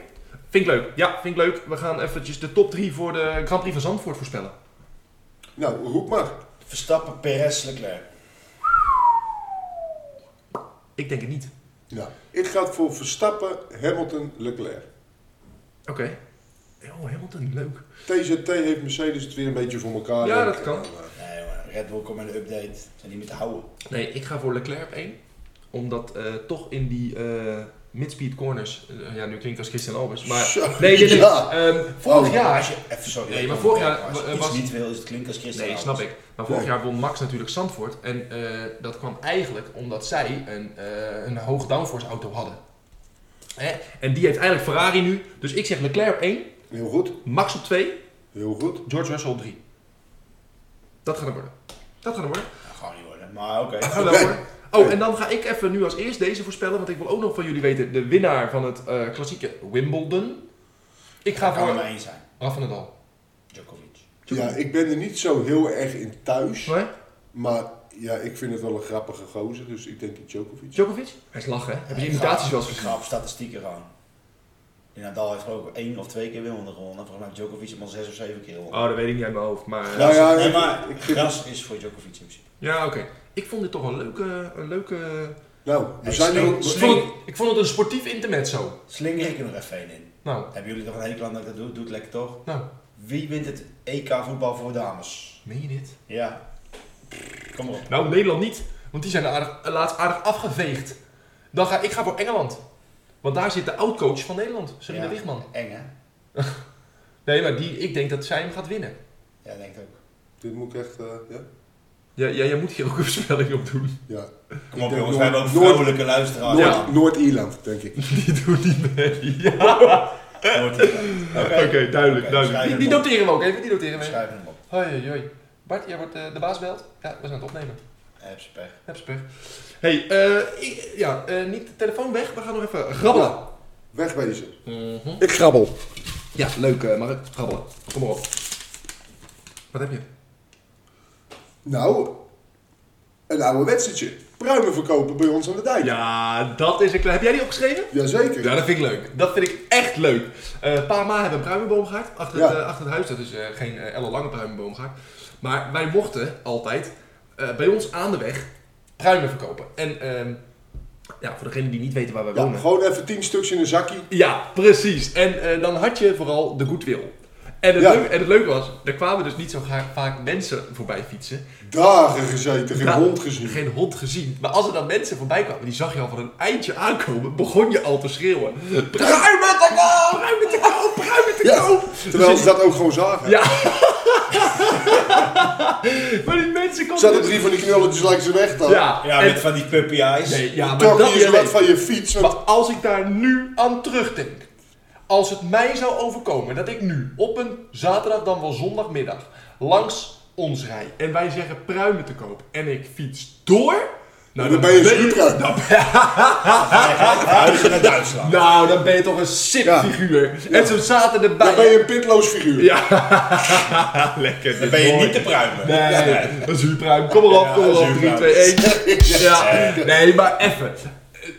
Vind ik leuk. Ja, vind ik leuk. We gaan eventjes de top 3 voor de Grand Prix van Zandvoort voorspellen. Nou, roep maar. Verstappen, Perez, Leclerc. Ik denk het niet. Ja. Ik ga voor Verstappen, Hamilton, Leclerc. Oké. Oh, Hamilton, leuk. TZT heeft Mercedes het weer een beetje voor elkaar. Ja, dat kan. Nee jongen, Red Bull komt met een update. Zijn niet meer te houden. Nee, ik ga voor Leclerc op 1. Omdat eh, toch in die eh mid-speed corners... eh, ja, nu klinkt het als Christian Albers, maar... Zo, nee, nee, nee. ja. Ehm, vorig Oh, jaar... Als je, even sorry. Nee, ik maar kom vorig erbij, jaar maar Als je wa- iets was- niet wil, is het klinkt als Christian Nee, snap Albers. ik. Maar vorig Nee. jaar won Max natuurlijk Zandvoort. En eh, dat kwam eigenlijk omdat zij een, eh een hoog downforce auto hadden. Hè? En die heeft eigenlijk Ferrari nu. Dus ik zeg Leclerc op 1, Heel goed. Max op 2, Heel goed. George Russell op 3. Dat gaat hem worden. Dat gaat hem worden. Dat gaat niet worden. Maar oké. Dat gaat hem wel worden. Oh, en dan ga ik even nu als eerst deze voorspellen. Want ik wil ook nog van jullie weten de winnaar van het eh, klassieke Wimbledon. Ik ga Daar kan het voor maar één zijn. Rafa Nadal. Djokovic. Ja, ik ben er niet zo heel erg in thuis. Nee? Maar ja, ik vind het wel een grappige gozer. Dus ik denk dat Djokovic. Djokovic? Hij is lachen, hè? Hebben ze imitaties wel eens Ik gezien? ga op statistieken gaan. Die Nadal heeft geloof ik één of twee keer Wimbledon gewonnen. Volgens mij heeft Djokovic hem al zes of zeven keer gewonnen. Oh, dat weet ik niet uit mijn hoofd, maar... eh, Nou ja, nee, ik- maar ik vind- gras is voor Djokovic in principe. Ja, oké. Ik vond dit toch een leuke... Een leuke... Nou, we Hey, zijn slim. er. Ik, Ik vond vond het, een sportief intermezzo. Slinger ik er nog even één in. Nou, Hebben jullie toch een hekel aan dat ik dat doe? Doe het lekker toch? nou. Wie wint het EK voetbal voor dames? Meen je dit? Ja. Kom maar op. Nou, Nederland niet. Want die zijn aardig, laatst aardig afgeveegd. Dan ga ik ga voor Engeland. Want daar zit de oud-coach van Nederland, Serena Ja. Wiegman. Eng hè? Nee, maar die, ik denk dat zij hem gaat winnen. Ja, denk ik ook. Dit moet ik echt. eh, ja? Ja, ja, jij moet hier ook een voorspelling op doen. Ja. Kom op denk jongens, Noord- we hebben ook Noord- vrouwelijke luisteraars. Noord- Ja. Noord-Ierland, denk ik. Die doen niet mee. Ja. Oké, duidelijk, Oké, duidelijk. schrijf Die, die hem op. noteren we ook even, die noteren we even. Schrijf hem op. Hoi, hoi, hoi. Bart, jij wordt eh, de baas belt. Ja, we zijn aan het opnemen. Heb ze pech. Heb ze pech. Hey, eh, ik- ja, eh, niet de telefoon weg. We gaan nog even grabbelen. Nou, Wegwezen. Mhm. Ik grabbel. Ja, leuk eh, Mark. Grabbelen. Kom maar op. Wat heb je? Nou, een oude wedstrijdje. Pruimen verkopen bij ons aan de dijk. Ja, dat is een klein... Heb jij die opgeschreven? Jazeker. Ja, dat vind ik leuk. Dat vind ik echt leuk. Eh pa en ma hebben een pruimenboom gehakt achter, het, Ja. eh, achter het huis. Dat is eh, geen eh, ellenlange pruimenboom gehakt. Maar wij mochten altijd eh, bij ons aan de weg pruimen verkopen. En ehm, ja, voor degenen die niet weten waar wij Ja, wonen... gewoon even tien stuks in een zakje. Ja, precies. En eh, dan had je vooral de goodwill. En het, Ja. leuk, en het leuke was, er kwamen dus niet zo ga- vaak mensen voorbij fietsen. Dagen gezeten, geen Nou, hond gezien. Geen hond gezien. Maar als er dan mensen voorbij kwamen, die zag je al van een eindje aankomen, begon je al te schreeuwen. Pruimen te koop! Pruimen te koop! Pruimen te Ja, koop! Terwijl ze Dus die- dat ook gewoon zagen. Ja. maar die mensen Er konden... Zaten drie van die knulletjes langs de weg dan. Ja, Ja, en- met van die puppy eyes. nee, ja, maar Toch dat niet eens weet- wat van je fiets. want- Maar als ik daar nu aan terugdenk. Als het mij zou overkomen dat ik nu op een zaterdag dan wel zondagmiddag langs ons rij en wij zeggen pruimen te koop en ik fiets door. Nou, dan ben je een Zuidra. dan- Huizen naar Duitsland. Nou, dan ben je toch een sip Ja. figuur. En zo zaten erbij. Dan ben je een pitloos figuur. Ja, lekker. Dan ben je niet te pruimen. Nee, nee, een zuurpruim. Kom erop, Ja, kom een erop. 3, zuurpruim. 2, 1. Ja, nee, maar even.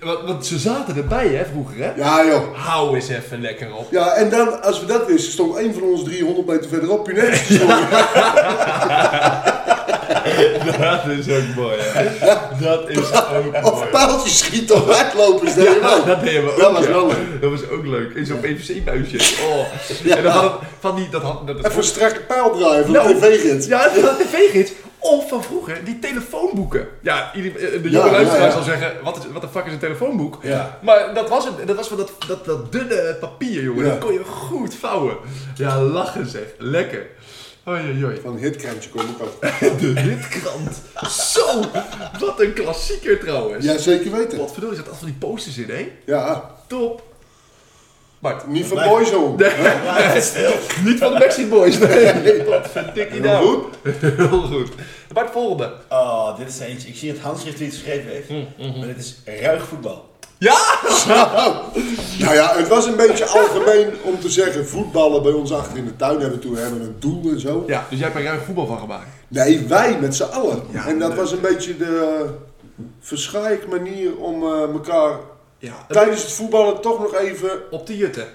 Want, want ze zaten erbij, hè, vroeger, hè? Ja, joh. Hou eens even lekker op. Ja, en dan, als we dat wisten, stond één van ons 300 meter verderop. Punaise, te storen. Dat is ook mooi, hè? Dat is ook mooi. Of paaltjes schieten of weglopers. Dat je wel. Dat deden we ook. Dat was ja. wel leuk. Dat was ook leuk. In zo'n PVC-buisje. Oh. En dan hadden we van die. Dat had, dat, dat- Even een strakke pijl draaien van Nou. de tv-gids. ja, dat had de tv-gids. Of van vroeger, die telefoonboeken. Ja, ieder- eh, de Ja, jonge ja, luisteraars ja. zal zeggen, wat, is, wat de fuck is een telefoonboek? Ja. Maar dat was, het, dat, was wel dat, dat, dat dunne papier, jongen. Ja. Dat kon je goed vouwen. Ja, lachen zeg. Lekker. Oei, oei, oei. Van een hitkrantje kom ik ook. De witkrant. Zo, wat een klassieker trouwens. Ja, zeker weten. Wat verdorie, er zat al van die posters in, hè? Ja, Top. Bart, niet van Boyzone. Nee. Blijf het stil. niet van de Backstreet Boys. Nee, wat verdikkie Heel nou. goed. Heel goed. Bart, volgende. Oh, dit is eentje. Ik zie het handschrift die het geschreven Mm, heeft. mm-hmm. Maar dit is ruig voetbal. Ja! Nou ja, het was een beetje algemeen om te zeggen, voetballen bij ons achter in de tuin hebben we toen hebben we een doel en zo. Ja, dus jij hebt er ruim voetbal van gemaakt. Nee, wij met z'n allen. en dat was een beetje de eh, verschaik manier om eh, elkaar Ja. tijdens het voetballen toch nog even, Op de jutten.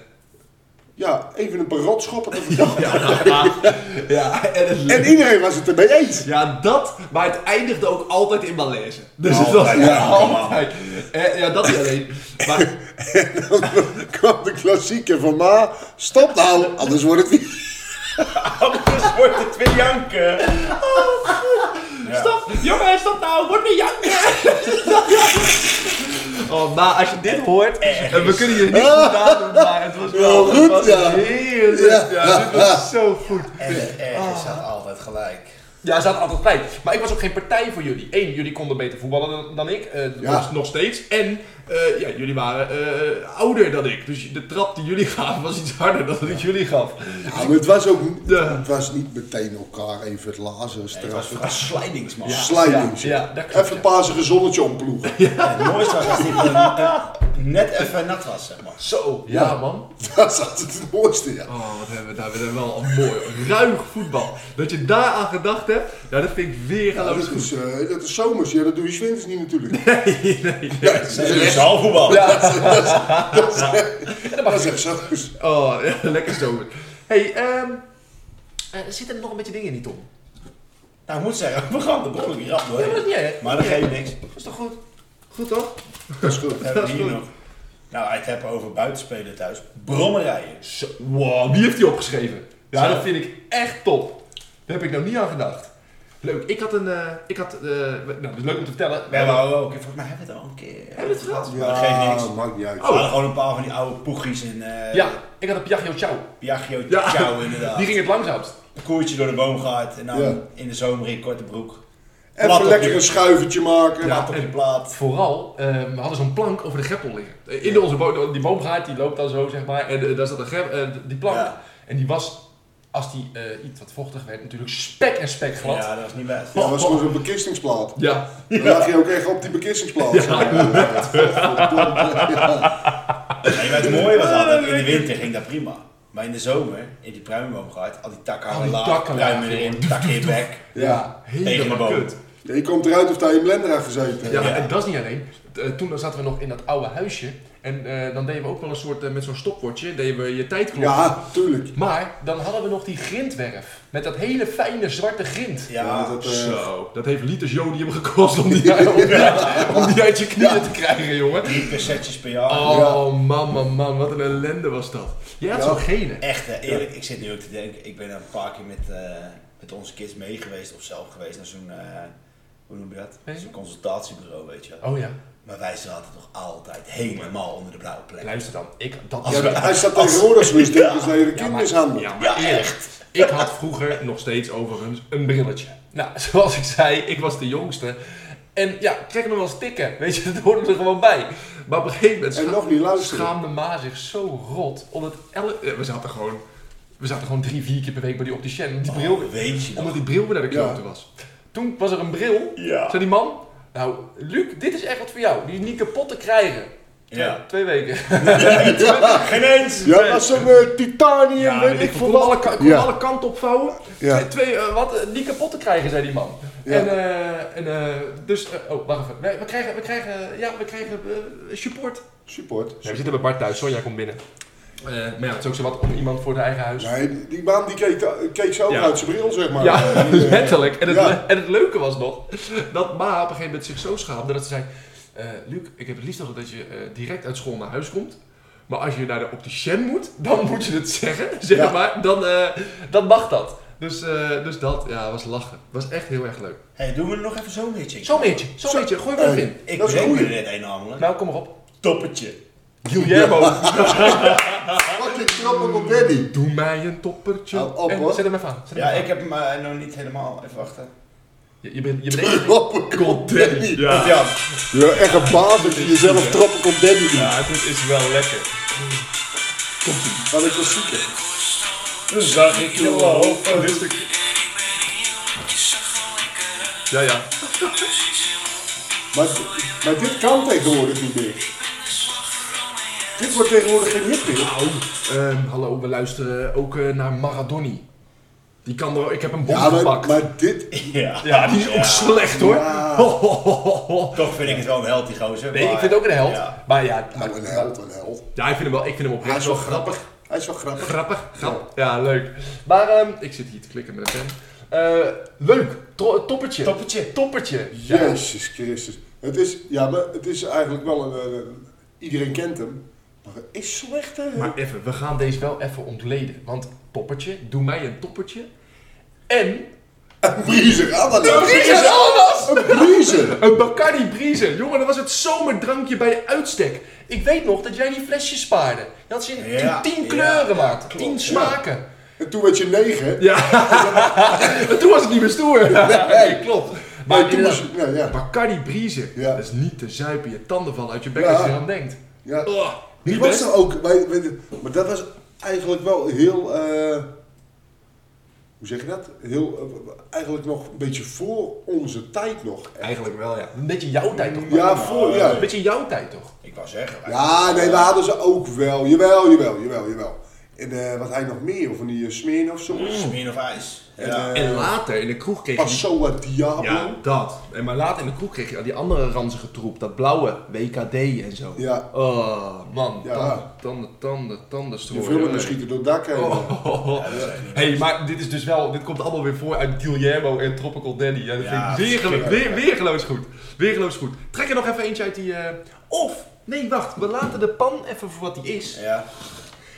ja, even een paar rotschoppen te vertellen. Ja, en het En iedereen was het ermee eens. Ja, dat, maar het eindigde ook altijd in malaise. Dus het Altijd, was ja, altijd. Eh, ja, dat niet alleen. Maar Dan kwam de klassieke van ma, stop nou, anders wordt het niet. Anders wordt het weer janken. stop, jongen, stop nou, word niet janken. oh, maar als je dit hoort, en we kunnen je niet goed nadoen, maar het was wel Wel goed, het was ja. heerlijk. Ja, dit was zo goed. En Ah. ergens staat altijd gelijk. Ja, ze hadden altijd pijn. Maar ik was ook geen partij voor jullie. Eén, jullie konden beter voetballen dan, dan ik. eh, dat Ja. was nog steeds. En eh, ja, jullie waren eh, ouder dan ik. Dus de trap die jullie gaven was iets harder dan ik jullie gaf. Ja, maar het was ook Ja. het was niet meteen elkaar even het lazen, Het was straffen. vooral slidings, man. Slijdings. Ja, ja, dat klopt, even een pazige zonnetje omploegen. En het mooiste was als dit een- een- net even nat was, zeg maar. Zo, ja, man. Dat is altijd het mooiste, ja. Oh, wat hebben we daar we hebben wel een mooi ruig voetbal. Dat je daar aan gedacht hebt, ja, dat vind ik weer Ja, geloofd dat, goed. is, eh, dat is zomers, ja, dat doe je zwinters niet natuurlijk. Nee, Dat is zaalvoetbal. dat is echt zomers. Oh, ja, lekker zo. hey, ehm eh, zitten er nog een beetje dingen niet om? Nou, ik moet zeggen, we gaan er behoorlijk rap Ja, dat is door. niet erg. Maar dat geeft niks. Dat is toch goed? Goed toch? Dat is goed. We hebben Dat is hier goed. nog. Nou, het hebben over buitenspelen thuis. Brommerijen. Zo, wow, wie heeft die opgeschreven? Ja, Zo. dat vind ik echt top. Daar heb ik nou niet aan gedacht. Leuk, ik had een. eh, ik had, eh, nou, dat is leuk om te vertellen. We hebben ook, volgens mij hebben we het al een keer. eh, Hebben we het gehad? Maar dat geeft niks. Ah, maakt niet uit. We hadden gewoon een paar van die oude poegies en eh Oh. Ja, ik had een Piaggio Ciao. Piaggio Ja. Ciao inderdaad. Die ging het langzaamst. Een koertje door de boom gehad en dan Ja. in de zomer in korte broek. Plat Even op lekker je- een schuivertje maken. Ja. plat op je en- plaat. Vooral, ehm, we hadden zo'n plank over de greppel liggen. Eh, In onze boom, die boomgaard die loopt dan zo, zeg maar. En eh, daar zat een grep, eh, die plank. Ja. En die was, als die eh, iets wat vochtig werd, natuurlijk spek en spek glad. Ja, dat was niet best. Ja, dat was gewoon zo'n bekistingsplaat. ja. Dan lag je ook echt op die bekistingsplaat. Ja. Nee, maar het mooie Ah, was altijd, in de winter ging dat prima. Maar in de zomer, in die pruimenboom gehad, al die takken die hangen laag, takken laag, pruimen erin, takken in je bek. Ja. Tegen de helemaal boom. kut. Ja, Je komt eruit of daar je blender aan gezeten hebt. Ja, Ja. en dat is niet alleen. T- eh, toen zaten we nog in dat oude huisje. En eh, dan deden we ook wel een soort, eh, met zo'n stopwatchje, deden we je tijd kloppen. Ja, tuurlijk. Maar dan hadden we nog die grindwerf. Met dat hele fijne zwarte grind. Ja, Ja, dat, eh, Zo, dat heeft liters jodium gekost om die, om die, om die uit je knieën te krijgen, jongen. drie percetjes per jaar. Oh, man, man, man, wat een ellende was dat. Jij had Ja. zo'n gene. Echt, hè, eerlijk, ik zit nu ook te denken, ik ben een paar keer met, eh, met onze kids mee geweest of zelf geweest naar zo'n, eh, hoe noem je Nee. dat? Zo'n consultatiebureau, weet je wel. Oh ja, Maar wij zaten toch altijd helemaal onder de blauwe plek. luister dan. Ik, dat Ja, hij staat tegenwoordig zoiets tegen dat je de kindermishandel. Ja, maar echt. Ik had vroeger nog steeds overigens een brilletje. Nou, zoals ik zei, ik was de jongste. En ja, ik kreeg me wel eens tikken. Weet je, dat hoorde er gewoon bij. Maar op een gegeven moment En scha- nog niet luisteren. schaamde Ma zich zo rot. Omdat elle- eh, we zaten gewoon, we zaten gewoon drie, vier keer per week bij die opticien. Omdat die bril, Oh, weet je nog? omdat die bril weer naar de Ja. klote was. Toen was er een bril. Ja. Zei die man, nou Luc, dit is echt wat voor jou. Die is niet kapot te krijgen. Ja. Twee weken. Geen eens! Ja, dat was zo'n eh, titanium, Ja, weet ik veel kon alle, wat. ka- kon Ja. alle kanten opvouwen. Ja. Twee, twee, eh, wat, eh, niet kapot te krijgen, zei die man. Ja. En, eh, en eh, dus, eh, oh, wacht even. We, we krijgen, we krijgen, ja, we krijgen eh, support. Support. we zitten bij Bart thuis, Sonja komt binnen. maar ja, het is ook zo wat om iemand voor zijn eigen huis. Nee, die man die keek, keek zo Ja. uit zijn bril, zeg maar. Ja, Eh, die, eh, letterlijk. En het, ja. le- en het leuke was nog dat Ma op een gegeven moment zich zo schaamde dat ze zei: eh, Luc, ik heb het liefst nog dat je eh, direct uit school naar huis komt. Maar als je naar de opticien moet, dan moet je het zeggen. Zeg Ja. maar, dan, eh, dan mag dat. Dus, eh, dus dat, ja, was lachen. Was echt heel erg leuk. Hé, doen we er nog even zo'n beetje. Zo'n beetje, zo'n beetje. Gooi hem in. Ik Dat is breng me goed. er net een namelijk. Nou, kom maar op. Toppertje. Guillermo, Fucking trappen op Daddy. doe mij een toppertje. Hou op, en, hoor. Zet hem even aan. Zet hem Ja, even ik heb hem eh, nog niet helemaal. Even wachten. aan. Je, je bent, je bent echt... Trappen op Daddy. Ja. Ja, Je bent echt een baas dat je jezelf trappen op Daddy doet. Ja, dit is wel lekker. Wat een klassieker. toen zag ik je lopen. Dit stuk. Ja, ja. Maar, maar dit kan tegenwoordig niet meer. Dit wordt tegenwoordig geen hit meer. Ehm, hallo, we luisteren ook eh, naar Maradoni. Die kan er... Ik heb een bom Ja, maar, gepakt. maar dit... Ja. Ja, die is ook slecht, hoor. Ho, ho, ho, ho. Toch vind ik het wel een healthy gozer. Nee, maar- ik vind het ook een held. Ja. Maar ja, maar- Nou, een held, een held. ja, ik vind hem wel, ik vind hem Hij oprecht is wel grappig. Hij is wel grappig. Grappig, grappig. Ja, leuk. Maar ehm, ik zit hier te klikken met een pen. Eh, leuk, Tro- toppertje. Toppertje. Toppertje. Ja. Jezus Christus. Het is, ja, maar het is eigenlijk wel een, eh, een- Iedereen kent hem. Maar het is slecht, hè? Maar even, we gaan deze wel even ontleden. Want toppertje, doe mij een toppertje. En Een briezer, ananas. Een briezer, ananas! Een briezer. een Bacardi Breezer. Jongen, dat was het zomerdrankje bij uitstek. Ik weet nog dat jij die flesjes spaarde. Je had ze in Ja, tien ja, kleuren, maat. tien smaken. En toen werd je negen. Ja, En toen was het niet meer stoer. Nee, klopt. Maar Maar toen was inderdaad, ja, ja. Bacardi Breezer, Ja. dat is niet te zuipen. Je tanden vallen uit je bek Ja. als je eraan denkt. ja. Oh, Die niet was best. er ook. Wij, wij- maar dat was eigenlijk wel heel. eh, hoe zeg je dat? Heel, eh, eigenlijk nog een beetje voor onze tijd nog. Eigenlijk wel, ja. Een beetje jouw tijd toch? Ja, voor, ja. Een beetje jouw tijd toch? Ik wou zeggen. wij- Ja, nee, we hadden ze ook wel. Jawel, jawel, jawel, jawel. En eh, wat hij nog meer, of van die uh, Smeer of zo. Smeer of ijs. En, Ja. eh, En later in de kroeg kreeg je... Passoa Diablo. Ja, dat. En maar later in de kroeg kreeg je al die andere ranzige troep. Dat blauwe, WKD en zo. Ja. Oh, man. Ja. Tanden, tanden, tanden, tanden Je strooien. Oh, Oh. vullen schieten door het dak heen. hey, maar dit is dus wel, dit komt allemaal weer voor uit Guillermo en Tropical Danny. Ja, dat Ja, vind ik weergelo- weer, weergeloos goed. Weergeloos goed. Trek er nog even eentje uit die... eh, Of, nee wacht, we laten de pan even voor wat die is. Ja.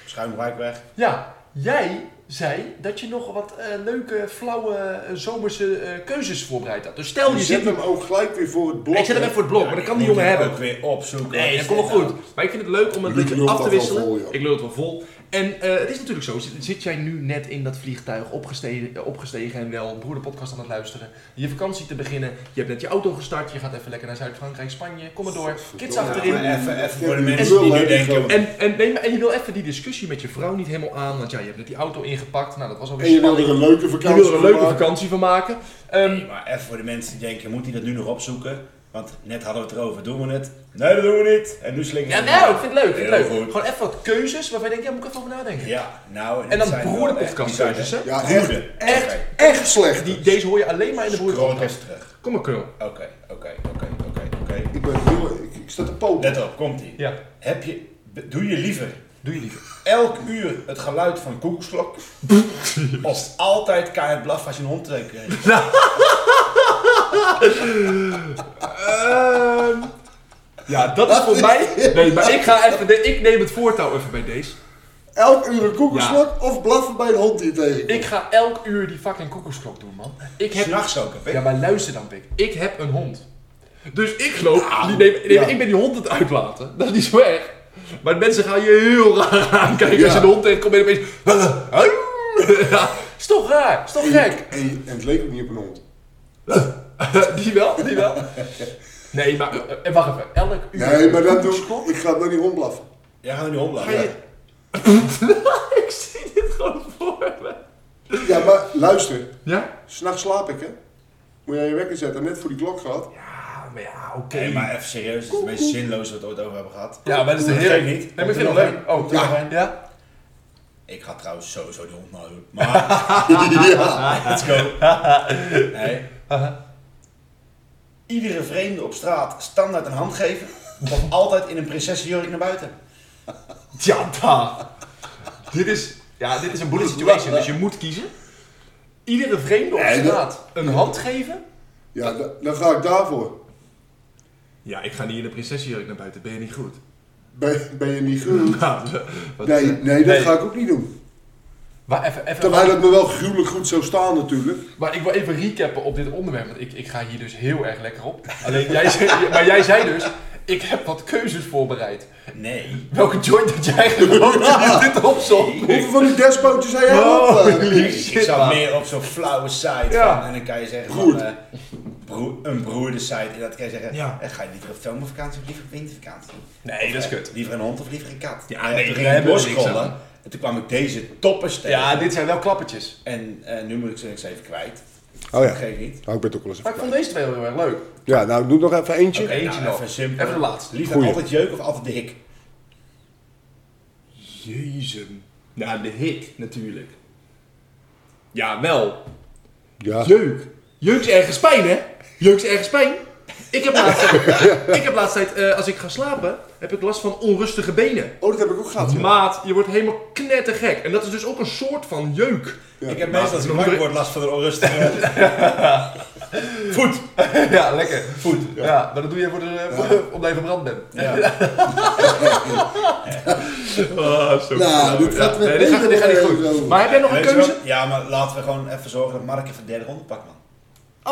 Schuimwijk weg. Ja, jij zei dat je nog wat eh, leuke, flauwe, eh, zomerse eh, keuzes voorbereid had. Dus stel je Je zit... zet hem ook gelijk weer voor het blok. Ik zet hem hè. even voor het blok, maar dat kan die jongen hebben. Ook weer opzoeken. Nee, dat Wat komt wel is dit goed. Maar ik vind het leuk om het een Luc beetje lult af te dat wel wisselen. vol, joh. ik lul het wel vol. En eh, het is natuurlijk zo, zit, zit jij nu net in dat vliegtuig opgestegen, eh, opgestegen en wel broederpodcast aan het luisteren. Je vakantie te beginnen, je hebt net je auto gestart, je gaat even lekker naar Zuid-Frankrijk, Spanje, kom maar door. Kids Ja, nou? achterin. Ja, maar even, even voor de En- mensen die en- nu denken. En, en, nee, maar, en je wil even die discussie met je vrouw niet helemaal aan, want ja, je hebt net die auto ingepakt, nou dat was alweer En je wil spanning. er een leuke Je vakantie wil er een van leuke maken. vakantie van maken. Ehm, Nee, maar even voor de mensen die denken, moet hij dat nu nog opzoeken? Want net hadden we het erover, doen we het? Nee, dat doen we niet. En nu slinken ja, ze nou, het. ik vind het leuk. ik Vind het Heel leuk. goed. Gewoon even wat keuzes waarvan je denkt, ja, moet ik even over nadenken. Ja, nou. En dan het zijn wel broederpodcast echt keuzes, hè? bizarre- Ja, echt, Broeder. Echt, Oké. echt slecht. Die, deze hoor je alleen maar in de Gewoon broederpodcast. even terug. Kom maar, Krul. Oké, oké, oké, oké, oké. Ik ben heel... Ik, ik sta te poten. Let op, komt ie. Ja, Heb je, be- doe je liever doe je liever. elk uur het geluid van koeksklok? of altijd keihard blaffen als je een hond trekt? Ehm, ja, dat is voor mij. Nee, maar ik ga even. nee, ik neem het voortouw even bij deze. Elk uur een koekenslok of blaffen bij een hond die je tegenkomt. Ik ga elk uur die fucking koekoeksklok doen, man. Ik heb. S'nachts ook, heb ik. Ja, maar luister dan, Pik. Ik heb een hond. Dus ik geloof. Die neem, neem- Ah. ja. Ik ben die hond aan het uitlaten. Dat is niet zo erg. Maar de mensen gaan je heel raar aankijken als je Ja. de hond tegenkomt en opeens. Ja, is toch raar? Is toch gek? En, je- en het leek ook niet op een hond. Die wel, die wel. Nee, maar eh, eh, wacht even. Elk uur. Nee, maar dat doe koekoeksklok? ik. Ik ga naar die hond blaffen. Jij gaat nu hond blaffen. Ja. ik zie dit gewoon voor me. Ja, maar luister. Ja? S'nachts slaap ik, hè. Moet jij je wekker zetten. Net voor die klok gehad. Ja, Ah, maar ja, oké. Nee, maar even serieus, het is het meest zinloze wat we het ooit over hebben gehad. Ja, maar dat is de hele... Geef niet. Nee, maar ik vind het leuk. Oh, Ja. ja. ja? Ik ga trouwens sowieso die hond nou doen. Maar, ja. let's go. Nee. Iedere vreemde op straat standaard een hand geven. Of altijd in een prinsessenjurk naar buiten. Ja, daar. Dit is... Ja, dit is een bullet situation, dus je moet kiezen. Iedere vreemde op Nee, dat- straat een hand geven? Ja, da- dan ga ik daarvoor. Ja, ik ga niet in de prinsessenjurk naar buiten, ben je niet goed? Ben, ben je niet goed? Nou, wat- Nee, nee, dat ga ik ook niet doen. Maar, even, even, Terwijl het me wel gruwelijk goed zou staan natuurlijk. maar ik wil even recappen op dit onderwerp, want ik, ik ga hier dus heel erg lekker op. Alleen, jij zei, maar jij zei dus, ik heb wat keuzes voorbereid. Nee. Welke joint had jij gerookt in dit opzond? Hoeveel van die despootjes zei jij Oh. op? eh? Holy Ik shit, zou man. meer op zo'n flauwe site Ja. van, en dan kan je zeggen Broert. van, eh, broer, een broerde site en dat kan je zeggen, Ja. eh, ga je liever op zomervakantie of liever op wintervakantie? Nee, dat is kut. Liever een hond of liever een kat? Ja, nee, En toen daar ging ik hebben we niks doorscrollen aan. en toen kwam ik deze toppers tegen. Ja, dit zijn wel klappertjes. En eh, nu moet ik ze ik ze even kwijt. Oh ja. Dat geeft niet. Nou, ik ben het ook wel eens Maar even ik vond kwijt. deze twee heel erg leuk. Ja, nou, doe nog even eentje. Oké. Eentje nog. Nou, Even simpel. Even de laatste. Liever Goeie. altijd jeuk of altijd de hik? Jezus. Nou, de hik natuurlijk. Ja, wel. Ja. Jeuk. Jeuk is ergens pijn, hè? Jeuk is ergens pijn. Ik heb laatst, ik heb laatst tijd, eh, als ik ga slapen, heb ik last van onrustige benen. Oh, dat heb ik ook gehad. ja. Maat, je wordt helemaal knettergek. En dat is dus ook een soort van jeuk. Ik heb meestal als ik wakker word last van een onrustige... Voet. ja, lekker. Voet. Ja. maar dat doe je voor de, voor de, omdat je verbrand bent. Ja. Oh, zo Nou, dit gaat weer nee, dit gaat, dit gaat niet beter goed. over. Maar heb jij nog een Weet je wel? keuze? Ja, maar laten we gewoon even zorgen dat Mark even de derde ronde pakt, man.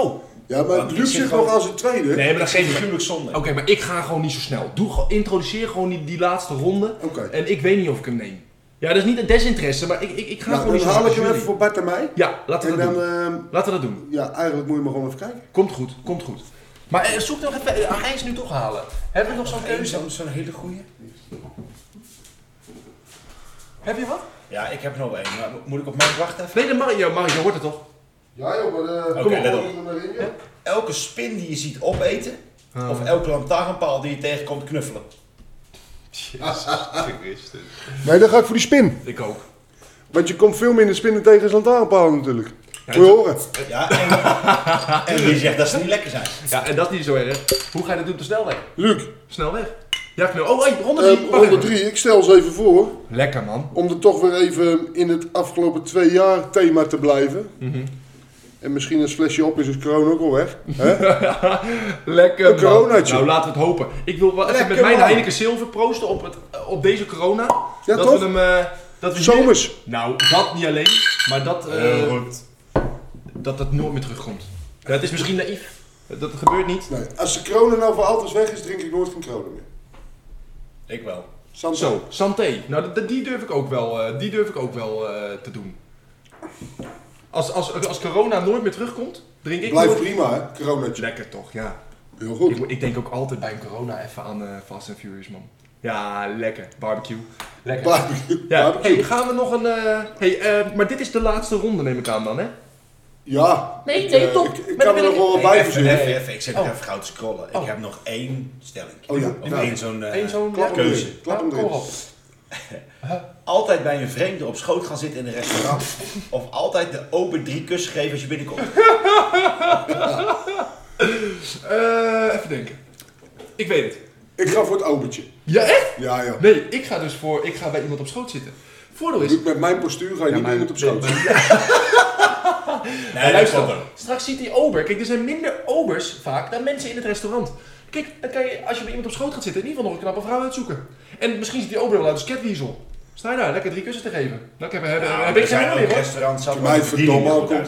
Oh. Ja, maar Want ik Luc zit zit gewoon- nog aan zijn tweede. Nee, maar dat geeft gruwelijk zonde. Oké, maar ik ga gewoon niet zo snel. Doe, gewoon- introduceer gewoon die, die laatste ronde. Oké. Nou, En ik weet niet of ik hem neem. Ja, dat is niet een desinteresse, maar ik, ik, ik ga Nou, gewoon dan niet zo haal snel ik als hem even jullie. voor Bart en mij. Ja, laten we En dat dan, doen. ehm, Laten we dat doen. ja, eigenlijk moet je maar gewoon even kijken. Komt goed, komt goed. Maar eh, zoek nog even, eh, hij is nu toch halen. Hebben we nog zo'n Eén keuze? zo'n zo'n hele goeie. Heb je wat? Ja, ik heb er nog wel één. Maar moet ik op Mark wachten even? Nee, dan Mario, ja, Mario hoort het toch? Ja joh, maar... eh, Oké, let op. op. Elke spin die je ziet opeten, of elke lantaarnpaal die je tegenkomt knuffelen. Nee, dan ga ik voor die spin. Ik ook. Want je komt veel minder spinnen tegen als lantaarnpalen natuurlijk. Moet je horen. Ja, en, en wie zegt dat ze niet lekker zijn? Ja, en dat is niet zo erg. Hoe ga je dat doen op de snelweg? Luc, Snelweg. Ja, knul. Oh, hey, ronde eh, drie. Wacht ronde even. 3. Ik stel ze even voor. Lekker man. Om er toch weer even in het afgelopen twee jaar thema te blijven. Mhm. En misschien een flesje op is, is corona ook al weg. Hè? Lekker Een man. coronaatje. Nou, laten we het hopen. Ik wil wel even Lekker, met mijn man. Heineken Zilver proosten op, het, eh, op deze corona. Ja, dat toch? we hem... eh, dat we hier- Zomers. Nou, dat niet alleen. Maar dat... eh, dat dat nooit meer terugkomt. Ja, het is misschien naïef. Dat gebeurt niet. Nee, als de corona nou voor altijd weg is, drink ik nooit geen corona meer. Ik wel. Santé. Zo, santé. Nou, dat- dat- die durf ik ook wel, eh, die durf ik ook wel eh, te doen. Als, als, als corona nooit meer terugkomt, drink ik Blijft nooit- prima, hè? Coronaatje. Lekker toch, ja. Heel Ik, goed. moet- ik denk ook altijd bij een corona even aan eh, Fast and Furious, man. Ja, lekker. Barbecue. Lekker. Barbecue. ja. Barbecue. Hey, gaan we nog een... eh, Hey, eh, maar dit is de laatste ronde, neem ik aan dan, hè? Ja. Nee, Ik, nee, eh, top. Ik, ik Maar kan dan er nog wil ik- wel wat Hey, bij even, verzinnen. even, even, ik zit Oh. nog even gauw te scrollen. Oh. Ik heb nog één stelling. Oh ja, Of nou. één zo'n... eh, Eén zo'n... klap hem ja, erin. keuze. Klap hem Ja, erin. kom op. Altijd bij een vreemde op schoot gaan zitten in een restaurant. of altijd de open drie kussen geven als je binnenkomt. Eh, even denken. Ik weet het. Ik ga voor het obertje. Ja, echt? Ja, ja. Nee, ik ga dus voor... Ik ga bij iemand op schoot zitten. Voordeel is... Luc, met mijn postuur ga je niet maar- meer iemand op schoot. Nee, Ja, dat luister dan. klopt wel. Straks ziet die ober. Kijk, er zijn minder obers vaak dan mensen in het restaurant. Kijk, dan kan je, als je bij iemand op schoot gaat zitten, in ieder geval nog een knappe vrouw uitzoeken. En misschien ziet die ober wel uit als catweasel. Sta je daar, lekker drie kussen te geven. Dan heb, heb, Nou, heb er Eh, ik geen zijn oordeel, ook hoor. restaurants zat mij verdomme ook op.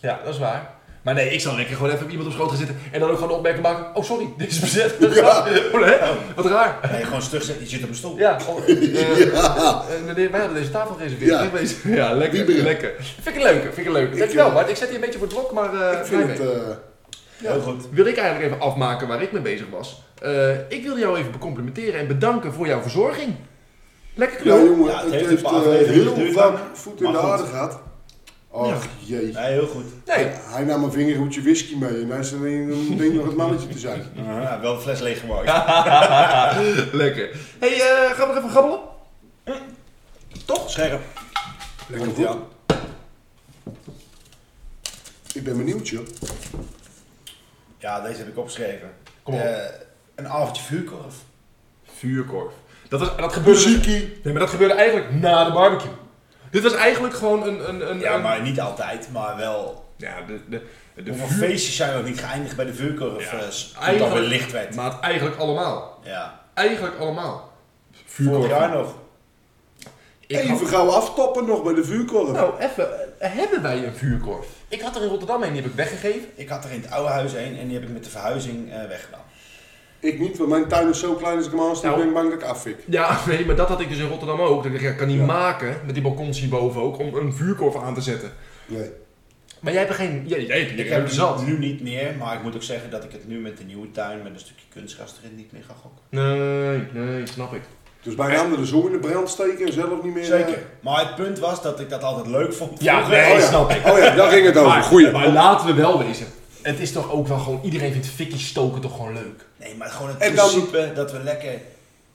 Ja, dat is waar. Maar nee, ik zal lekker gewoon even op iemand op schoot gaan zitten en dan ook gewoon opmerken maken. Oh, sorry, dit is bezet. Oh, hè? Wat raar. Nee, gewoon stug zitten. Je zit op een stoel. Ja, oh, eh, eh, meneer, wij hebben deze tafel gereserveerd. Ja. Ik weet- ja lekker, Wieberen. lekker. Vind ik een leuke, vind ik een leuke. Dankjewel, eh, Bart. Ik zet hier een beetje voor het blok, maar... eh, Ik vind blij mee. het... eh, Heel goed. wil ik eigenlijk even afmaken waar ik mee bezig was. Eh, ik wilde jou even complimenteren en bedanken voor jouw verzorging. Lekker ja, knul. jongen, Ja, het het heeft heeft, een paar eh, afleveringen heel geduurd, vaak maar- voet in de maar goed. aarde gehad. Och, jee. Nee, heel goed. Nee, Hij nam een vingerhoedje whisky mee en hij is alleen een ding nog het mannetje te zijn. Ja, wel de fles leeggemaakt. lekker. hey, eh, gaan we nog even grabbelen? Toch? Scherp. Lekker goed. Ik ben benieuwd, joh. Ja, deze heb ik opgeschreven. Kom op. Eh, een avondje vuurkorf. Vuurkorf. Dat, was, dat gebeurde... Muziekie. Nee, maar dat gebeurde eigenlijk na de barbecue. Dit was eigenlijk gewoon een... een, een Ja, een- maar niet altijd, maar wel. Ja, de, de, de Hoeveel vuur- feestjes zijn nog niet geëindigd bij de vuurkorf? Ja, eh, s- Toen dat weer eigenlijk- licht werd. Maar het eigenlijk allemaal. Ja. Eigenlijk allemaal. Vorig jaar nog. Ik had- Even gauw aftoppen nog bij de vuurkorf. Nou, even. eh, Hebben wij een vuurkorf? Ik had er in Rotterdam een, die heb ik weggegeven. Ik had er in het oude huis heen en die heb ik met de verhuizing eh, weggedaan. Ik niet, want mijn tuin is zo klein als ik hem aanstuur, Nou. ben ik bang dat ik affik. Ja, nee, maar dat had ik dus in Rotterdam ook. Dat ik dacht, ja, ik kan niet maken, met die balkons hierboven ook, om een vuurkorf aan te zetten. Nee. Maar jij hebt er geen... Jij, jij hebt er Ik geen heb zat. het nu niet meer, maar ik moet ook zeggen dat ik het nu met de nieuwe tuin met een stukje kunstgras erin niet meer ga gokken. Nee, nee, snap ik. Dus bij een ander de zon in de brand steken en zelf niet meer... eh, Maar het punt was dat ik dat altijd leuk vond. Ja, vroeger. nee, Oh snap ik. Oh ja, daar ging het over. Maar, Goeie. maar laten we wel wezen. Het is toch ook wel gewoon... Iedereen vindt fikkie stoken toch gewoon leuk? Nee, maar gewoon het En dan- principe dat we lekker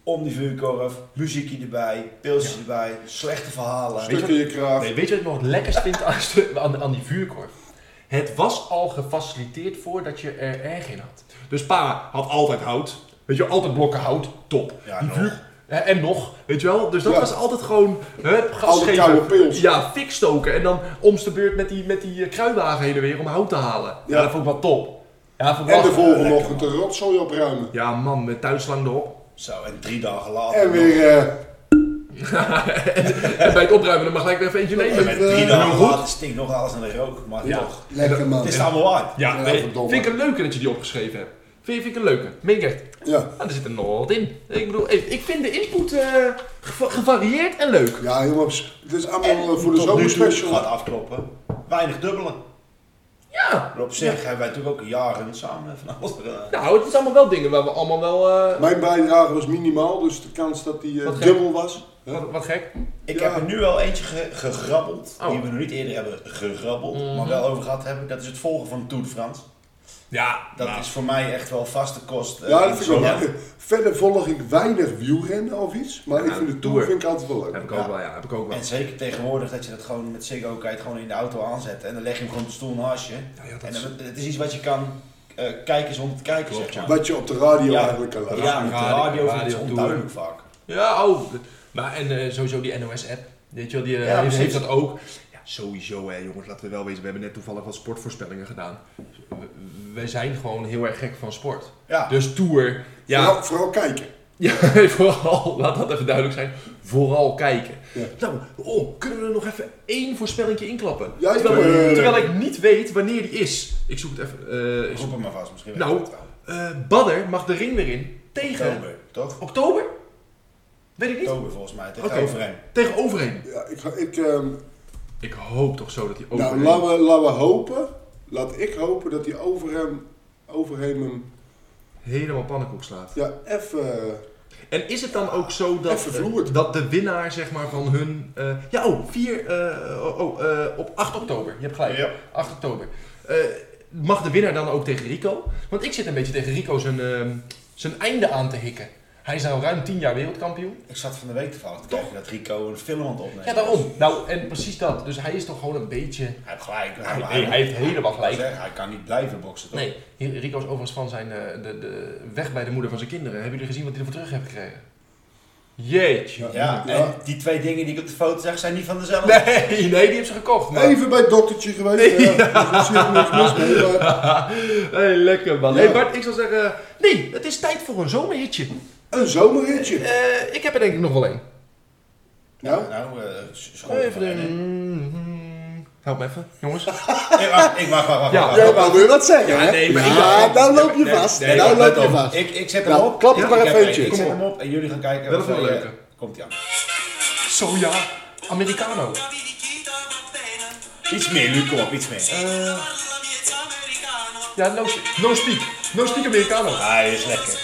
om die vuurkorf, muziekje erbij, pilsjes erbij, slechte verhalen. Stukje je kraag. Nee, weet je wat ik nog het lekkerst vind aan, aan, aan die vuurkorf? Het was al gefaciliteerd voordat je er erg in had. Dus pa had altijd hout. Weet je, altijd blokken hout. Top. Ja, Die nog. Hè, en nog, weet je wel? Dus dat Ja. was altijd gewoon hup, gas Oude koude pils. Ja, fik stoken. En dan om de beurt met die, met die eh, kruiwagen heen en weer om hout te halen. Ja, Ja. dat vond ik wel top. Ja, dat vond ik En wel- de volgende ochtend de rotzooi opruimen. Ja man, met tuinslang erop. Zo, en drie dagen later. En weer... eh, En bij het opruimen dan mag gelijk weer even eentje En nemen. met drie eh, dagen goed. later stinkt nog alles aan de rook. Maar Ja. toch, lekker man. het is het allemaal waard. Ja, Ja, nee, verdomme. vind ik een leuke dat je die opgeschreven hebt. Vind je, vind ik een leuke? Meen ik echt. Ja. Nou, er zit er nog wat in. Ik bedoel, ik ik vind de input eh, geva- gevarieerd en leuk. Ja, jongens. Het is En allemaal eh, voor de tot nu toe zomerspecial. gaat afkloppen. Weinig dubbelen. Ja. Maar op zich hebben wij natuurlijk ook jaren samen van alles eh. gedaan. Nou, het is allemaal wel dingen waar we allemaal wel... eh, Mijn bijdrage was minimaal, dus de kans dat die eh, Wat gek. dubbel was. hè? wat, wat gek. Ik Ja. heb er nu wel eentje ge- gegrabbeld, Oh. Mhm. die we nog niet eerder hebben gegrabbeld, maar wel over gehad hebben. Dat is het volgen van de Tour de France. Ja, nou, Dat is voor mij echt wel vaste kost. eh, Ja, in dat vind de ik wel zomer. leuk. Verder volg ik weinig wielrennen of iets, maar ik vind de Tour Tour. vind ik altijd wel leuk. Heb ik ook wel, ja. Heb ik ook wel. En zeker tegenwoordig dat je dat gewoon met Ziggo kan je het gewoon in de auto aanzetten. En dan leg je hem gewoon op de stoel naast je. ja, dat en is- dan, het is iets wat je kan eh, kijken zonder te kijken, Klopt, zeg maar. Wat je op de radio Ja. eigenlijk kan Ja, laten. met de radio, radio, vind ik radio, het onduidelijk vaak. Ja, oh. Maar en eh, sowieso die NOS-app. Weet je wel, die eh, Ja, heeft, precies. heeft dat ook. Ja, sowieso hè, jongens, laten we wel wezen. We hebben net toevallig wat sportvoorspellingen gedaan. We, we zijn gewoon heel erg gek van sport. Ja. Dus Tour, ja, Vooral, vooral kijken. Ja, vooral, laat dat even duidelijk zijn, vooral kijken. Ja. Nou, oh, kunnen we er nog even één voorspellingje inklappen? Ja, eh, terwijl, tuurlijk. terwijl ik niet weet wanneer die is. Ik zoek het even. eh, ik Ik zoek- roep hem maar vast, misschien weet ik nou, het wel. Oh. eh Badder mag de ring weer in tegen oktober. Oktober, toch? Weet Oh. ik niet. Oktober volgens mij, tegen Oké. overheen. Tegen overheen. Ja, ik, ga- ik, ehm, Ik hoop toch zo dat hij nou, overheen... laten we, laten we hopen, laat ik hopen dat die overhem, overhem hem helemaal pannenkoek slaat. ja, even... En is het dan ook zo dat, Even vloerd. dat de winnaar zeg maar van hun... eh, ja, oh, 4... eh, oh, oh, eh, op 8 oktober. Je hebt gelijk. Ja. 8 oktober. Eh, mag de winnaar dan ook tegen Rico? Want ik zit een beetje tegen Rico zijn, ehm, zijn einde aan te hikken. Hij is nou ruim 10 jaar wereldkampioen. Ik zat van de week toevallig te kijken dat Rico een film aan het opnemen Ja, daarom. Nou, en precies dat. Dus hij is toch gewoon een beetje... Hij heeft gelijk. Hij, hij, hij heeft helemaal gelijk. Zeg, hij kan niet blijven boksen, toch? Nee, Rico is overigens van zijn eh, de, de weg bij de moeder van zijn kinderen. Hebben jullie gezien wat hij ervoor terug heeft gekregen? Jeetje. Ja, Ja. en die twee dingen die ik op de foto zeg zijn niet van dezelfde. Nee, nee, die heeft ze gekocht. Maar... Even bij het doktertje geweest. Ja. Dus er zit niks mis mee, maar Hey, lekker man. Ja. Hey Bart, ik zou zeggen, nee, het is tijd voor een zomerhitje. een zomerritje. Eh, ik heb er denk ik nog wel een. Nou, Nou, eh schoon. Even een... Help me even, jongens. Ik wacht, ik wacht, wacht, Ja. wacht. wacht. Ja, nou, Jij wou weer wat zeggen, hè? nee, maar ik- ja, dan loop je vast. nee, dan wacht, loop je let op. vast. Ik, ik zet hem Nou, op. klap het maar Ik even heb- eentje. Ik zet Kom hem op en jullie gaan kijken. Dat of is wel wij, leuk, eh, hè? Komt hij aan. Soja, Americano. Iets meer, Luc, kom op, iets meer. Ja, no, no speak. No speak Americano. Hij is lekker.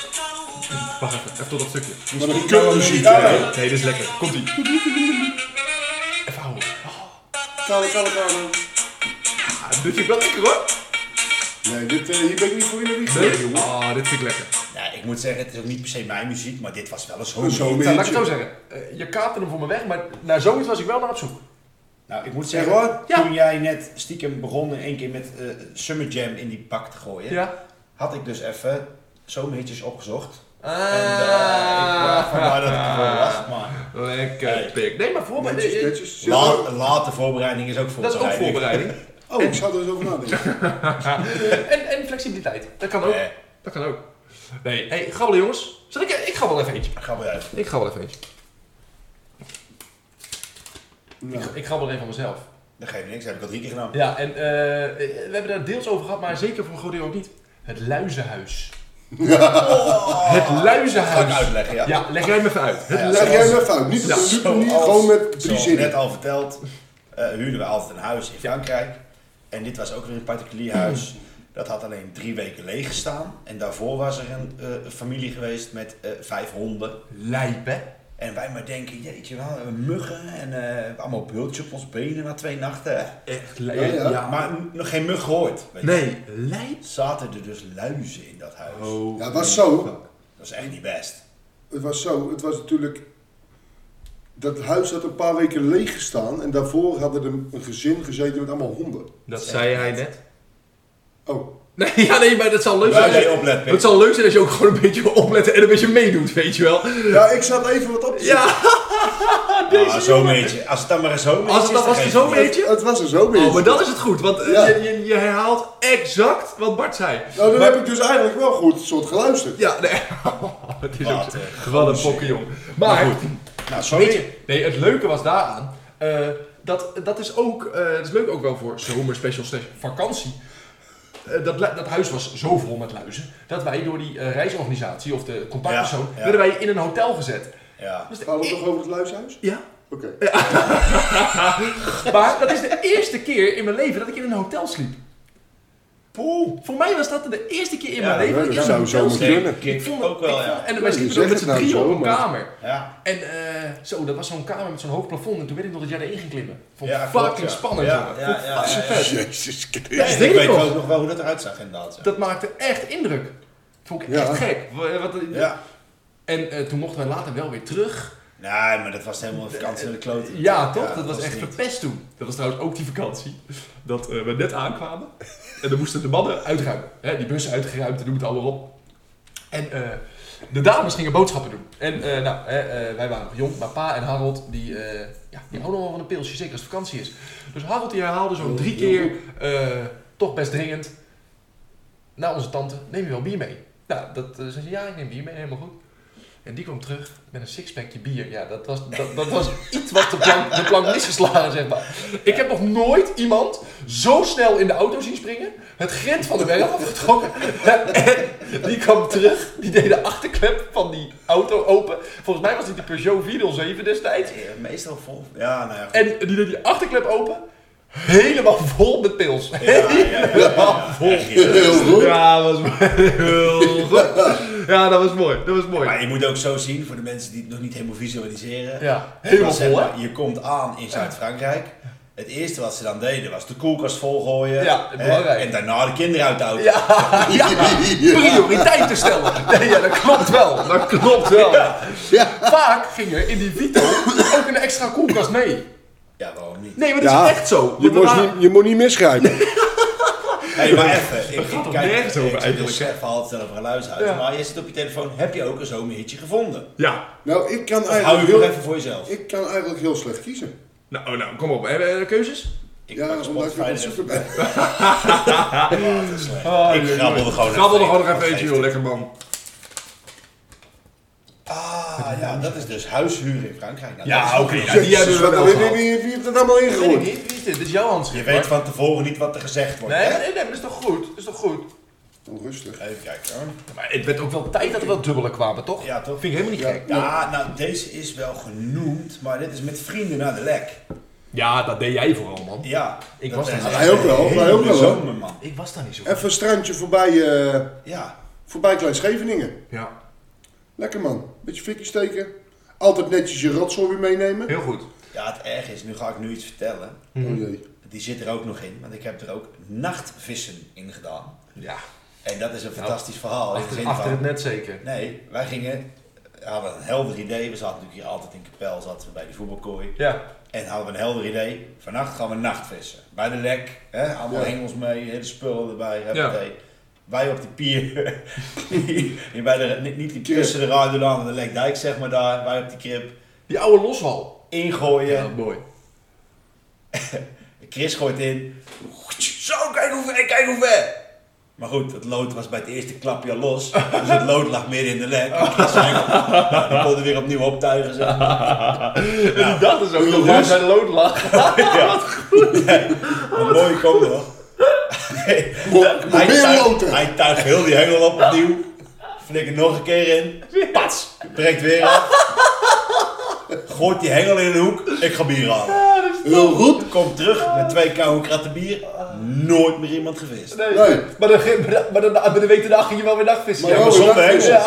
Wacht even, even tot dat stukje. wat een kutmuziek. Ja. hè. Nee, dit is lekker. Komt-ie. Even houden. Kalle, kalle, kalle. Ah, dit vind ik wel lekker hoor. Nee, dit, eh, hier ben ik niet voor in de wieg geweest, jongen. Ah, dit vind ik lekker. Nou, ik moet zeggen, het is ook niet per se mijn muziek, maar dit was wel een Een zo'n. Nou, laat ik het zo zomerritje. zeggen. Eh, je kaapte hem voor me weg, maar naar zoiets was ik wel naar op zoek. Nou, ik moet Zeg zeggen, hoor. Ja. toen jij net stiekem begon in één keer met eh, Summer Jam in die bak te gooien, Ja. had ik dus even zomerhitjes opgezocht. Ah. En eh, ik van waar dat ik ervoor was, maar... Lekker pik. Nee, maar voor Netjes, netjes. Zit er- Laat, late voorbereiding is ook Dat is voorbereiding. ook voorbereiding. Oh, ik zou er eens over nadenken. En, en flexibiliteit. Dat kan ook. Nee. Dat kan ook. Nee, hey, grabbelen Eh, jongens. Zal ik, ik ga wel even eentje. Ga maar uit. Ik ga wel even eentje. Ik, ik grabbel even van mezelf. Dat geeft niks, heb ik al drie keer gedaan. Ja, en eh, we hebben daar deels over gehad, maar zeker voor een groot deel ook niet. Het luizenhuis. het Ga ik luizenhuis. uitleggen, ja. Ja, leg jij me even uit. Het Ja, Zeg luizenhuis. jij me fout. Niet op Ja, een Zoals- supernieuw, gewoon met drie zoals zinnen. net al verteld, eh, huurden we altijd een huis in Frankrijk. En dit was ook weer een Hmm. particulier huis. Dat had alleen drie weken leeg gestaan. En daarvoor was er een eh, familie geweest met eh, vijf honden. Lijp, hè? En wij maar denken, jeetje wel, eh, muggen en eh, allemaal bultjes op ons benen na twee nachten. hè. Echt lijp. Ja, ja. Ja. Maar n- nog geen mug gehoord. weet je. Nee, lijp. Zaten er dus luizen in dat huis. Oh. Ja, het was zo. Dat is echt niet best. Het was zo. Het was natuurlijk... Dat huis had een paar weken leeg gestaan en daarvoor had er een, een gezin gezeten met allemaal honden. Dat zei hij net. Oh, Nee, ja, nee, maar dat zal leuk Luizen zijn. je oplet, Het zal leuk zijn als je ook gewoon een beetje oplet en een beetje meedoet, weet je wel. ja, ik zat even wat op te Ja, Ah, zo'n beetje. Als het dan maar zo'n beetje als het dan was het zo'n zoeken. beetje. Het was er zo weer. Oh, maar dan is het goed, want eh, Ja. je, je, je herhaalt exact wat Bart zei. Nou, dan heb ik dus eigenlijk wel goed soort geluisterd. Ja, nee. Oh, het is ook Wat zo. een Wat een fokken, jong. Maar, Nou, weet sorry. je, nee, het leuke was daaraan, eh, dat, dat is ook, eh, dat is leuk ook wel voor zomerspecial slash vakantie. Eh, dat, lu- dat huis was zo vol met luizen, dat wij door die eh, reisorganisatie of de contactpersoon, Ja, ja. werden wij in een hotel gezet. Ja. Dus de Gaan we e- toch over het luishuis? ja, Oké. maar dat is de eerste keer in mijn leven dat ik in een hotel sliep. Poeh, voor mij was dat de eerste keer in Ja, mijn leven dat ik in Dat zou een zo hotel sliep. moeten kunnen. Ik vond ook wel, ja. En wij je sliepen zegt ook met het z'n nou drieën zo, op een maar- kamer. Ja. En eh, zo, dat was zo'n kamer met zo'n hoog plafond. En toen weet ik nog dat jij erin ging klimmen. Vond ik Ja, klopt, fucking ja. spannend, Ja, jongen. ja, Vond ik ja, fucking ja, vet. Jezus Christus. Ja, dat ik weet ik weet nog. ook nog wel hoe dat eruit zag inderdaad. ja. Dat maakte echt indruk. Vond ik Ja. echt gek. Wat- wat- Ja. En eh, toen mochten wij later wel weer terug. Nee, maar dat was helemaal een vakantie naar de klote. Ja, toch? dat was echt niet- verpest toen. Dat was trouwens ook die vakantie. Dat eh, we net aankwamen. En dan moesten de mannen uitruimen. Hè, die bussen uitgeruimd en noem het allemaal op. En eh, de dames gingen boodschappen doen. En eh, nou, hè, eh, wij waren nog jong, maar pa en Harold, die, eh, ja, die houden wel van een pilsje, zeker als het vakantie is. Dus Harold die herhaalde zo'n drie keer, eh, toch best dringend, naar onze tante, neem je wel bier mee? Nou, dat eh, zei ze, ja, ik neem bier mee, helemaal goed. En die kwam terug met een sixpackje bier. Ja, dat was, dat, dat was iets wat de plank, de plank misgeslagen, zeg maar. Ik heb nog nooit iemand zo snel in de auto zien springen. Het grind van de weg afgetrokken. En die kwam terug. Die deed de achterklep van die auto open. Volgens mij was dit de Peugeot 407 destijds. Ja, Eh, Meestal vol. Ja, nou ja. goed. En die deed die achterklep open. Helemaal vol met pils. Ja, ja, ja, ja. Echt niet. Heel goed. Ja, dat was heel goed. Ja, dat was mooi. Dat was mooi. Maar je moet ook zo zien, voor de mensen die het nog niet helemaal visualiseren. Ja, helemaal Dat was, vol, hè? zeg maar, Je komt aan in Zuid-Frankrijk. Het eerste wat ze dan deden was de koelkast volgooien. Ja, hè, belangrijk. En daarna de kinderen uit de auto. Ja, ja, prioriteiten stellen. Nee, ja, dat klopt wel. Dat klopt wel. Vaak ging er in die Vito ook een extra koelkast mee. Ja, waarom niet? Nee, maar dat Ja, is echt zo. Want Je, we moest waren- niet, je moet niet misgrijpen. Hey, maar even. Ik, ik toch kijk nergens over ik zit eigenlijk, Dus hè? even altijd zelf een luis uit. Ja. Maar je zit op je telefoon. Heb je ook een zomerhitje gevonden? Ja, Nou, ik kan Hou je eigenlijk nog heel, even voor jezelf. ik kan eigenlijk heel slecht kiezen. nou, nou kom op. Hebben we keuzes? Ik pak Ja, een omdat ik Spotify dus. op en- zoek ben. Water is slecht. Oh, Ik grabbelde gewoon even Grabbel er eten, gewoon nog wat even eentje, geeft joh. Lekker man. Ah ja, dat is dus huishuur in Frankrijk. Nou, dat is- Ja, oké. ja, Jezus, die hebben we wat- wel wie- gehad. wie- Wie wie heeft dat allemaal Ik weet ingegooid? niet, wie is dit? Dit is jouw handschrift. Je weet hoor. van tevoren niet wat er gezegd wordt. Nee, hè? maar nee, nee, maar dat is toch goed? Dat is toch goed? Oh, Rustig. Even kijken hoor. Maar het werd ook wel tijd dat we wat dubbele kwamen, toch? Ja, toch? Vind ik helemaal niet gek. Ja, nou deze is wel genoemd, maar dit is met vrienden naar de lek. Ja, dat deed jij vooral, man. Ja, Ik dat was is daar. echt Wij ook wel, een wij ook hele wel, hoor. zomer, man. Ik was daar niet zo Even een strandje voorbij, eh, Ja, voorbij Klein Scheveningen. Ja, Lekker man. Beetje fikje steken. Altijd netjes je rotzooi weer meenemen. heel goed. ja, het erg is, nu ga ik nu iets vertellen. Oh jee. Die zit er ook nog in, want ik heb er ook nachtvissen in gedaan. Ja, En dat is een fantastisch verhaal. Nou, in de achter, zin achter van- het net zeker. Nee, wij gingen, we hadden een helder idee. We zaten natuurlijk hier altijd in Kapel, zaten we bij die voetbalkooi. Ja, En hadden we een helder idee. Vannacht gaan we nachtvissen. Bij de lek. Hè? Allemaal hengels mee, hele spullen erbij. huppatee. Wij op die pier. Hier bij de, niet, niet die Krip. tussen de Ruiderlaan en de Lekdijk, zeg maar daar. Wij op die krip. die oude loshal. Ingooien. mooi. Chris gooit in. Zo, kijk hoe ver, kijk hoe ver. Maar goed, het lood was bij het eerste klapje al los. Dus het lood lag meer in de lek. Dus hij- nou, Die konden weer opnieuw optuigen. Zeg. maar. En die dachten zo, dat daar zijn lood lag. Een mooie kom nog. Nee, hij, meer tuigt, loten. hij tuigt heel die hengel op opnieuw. Flikkert nog een keer in. Pats. Breekt weer af. Gooit die hengel in een hoek. Ik ga bier halen. Heel goed. Komt terug met twee koude kratten bier. Nooit meer iemand gevist. Nee. Nee. Maar dan, ge- maar dan, maar dan, maar dan weten de dag ging je wel weer nachtvissen. Maar Ja, wel- Zonder dat is- hengsel.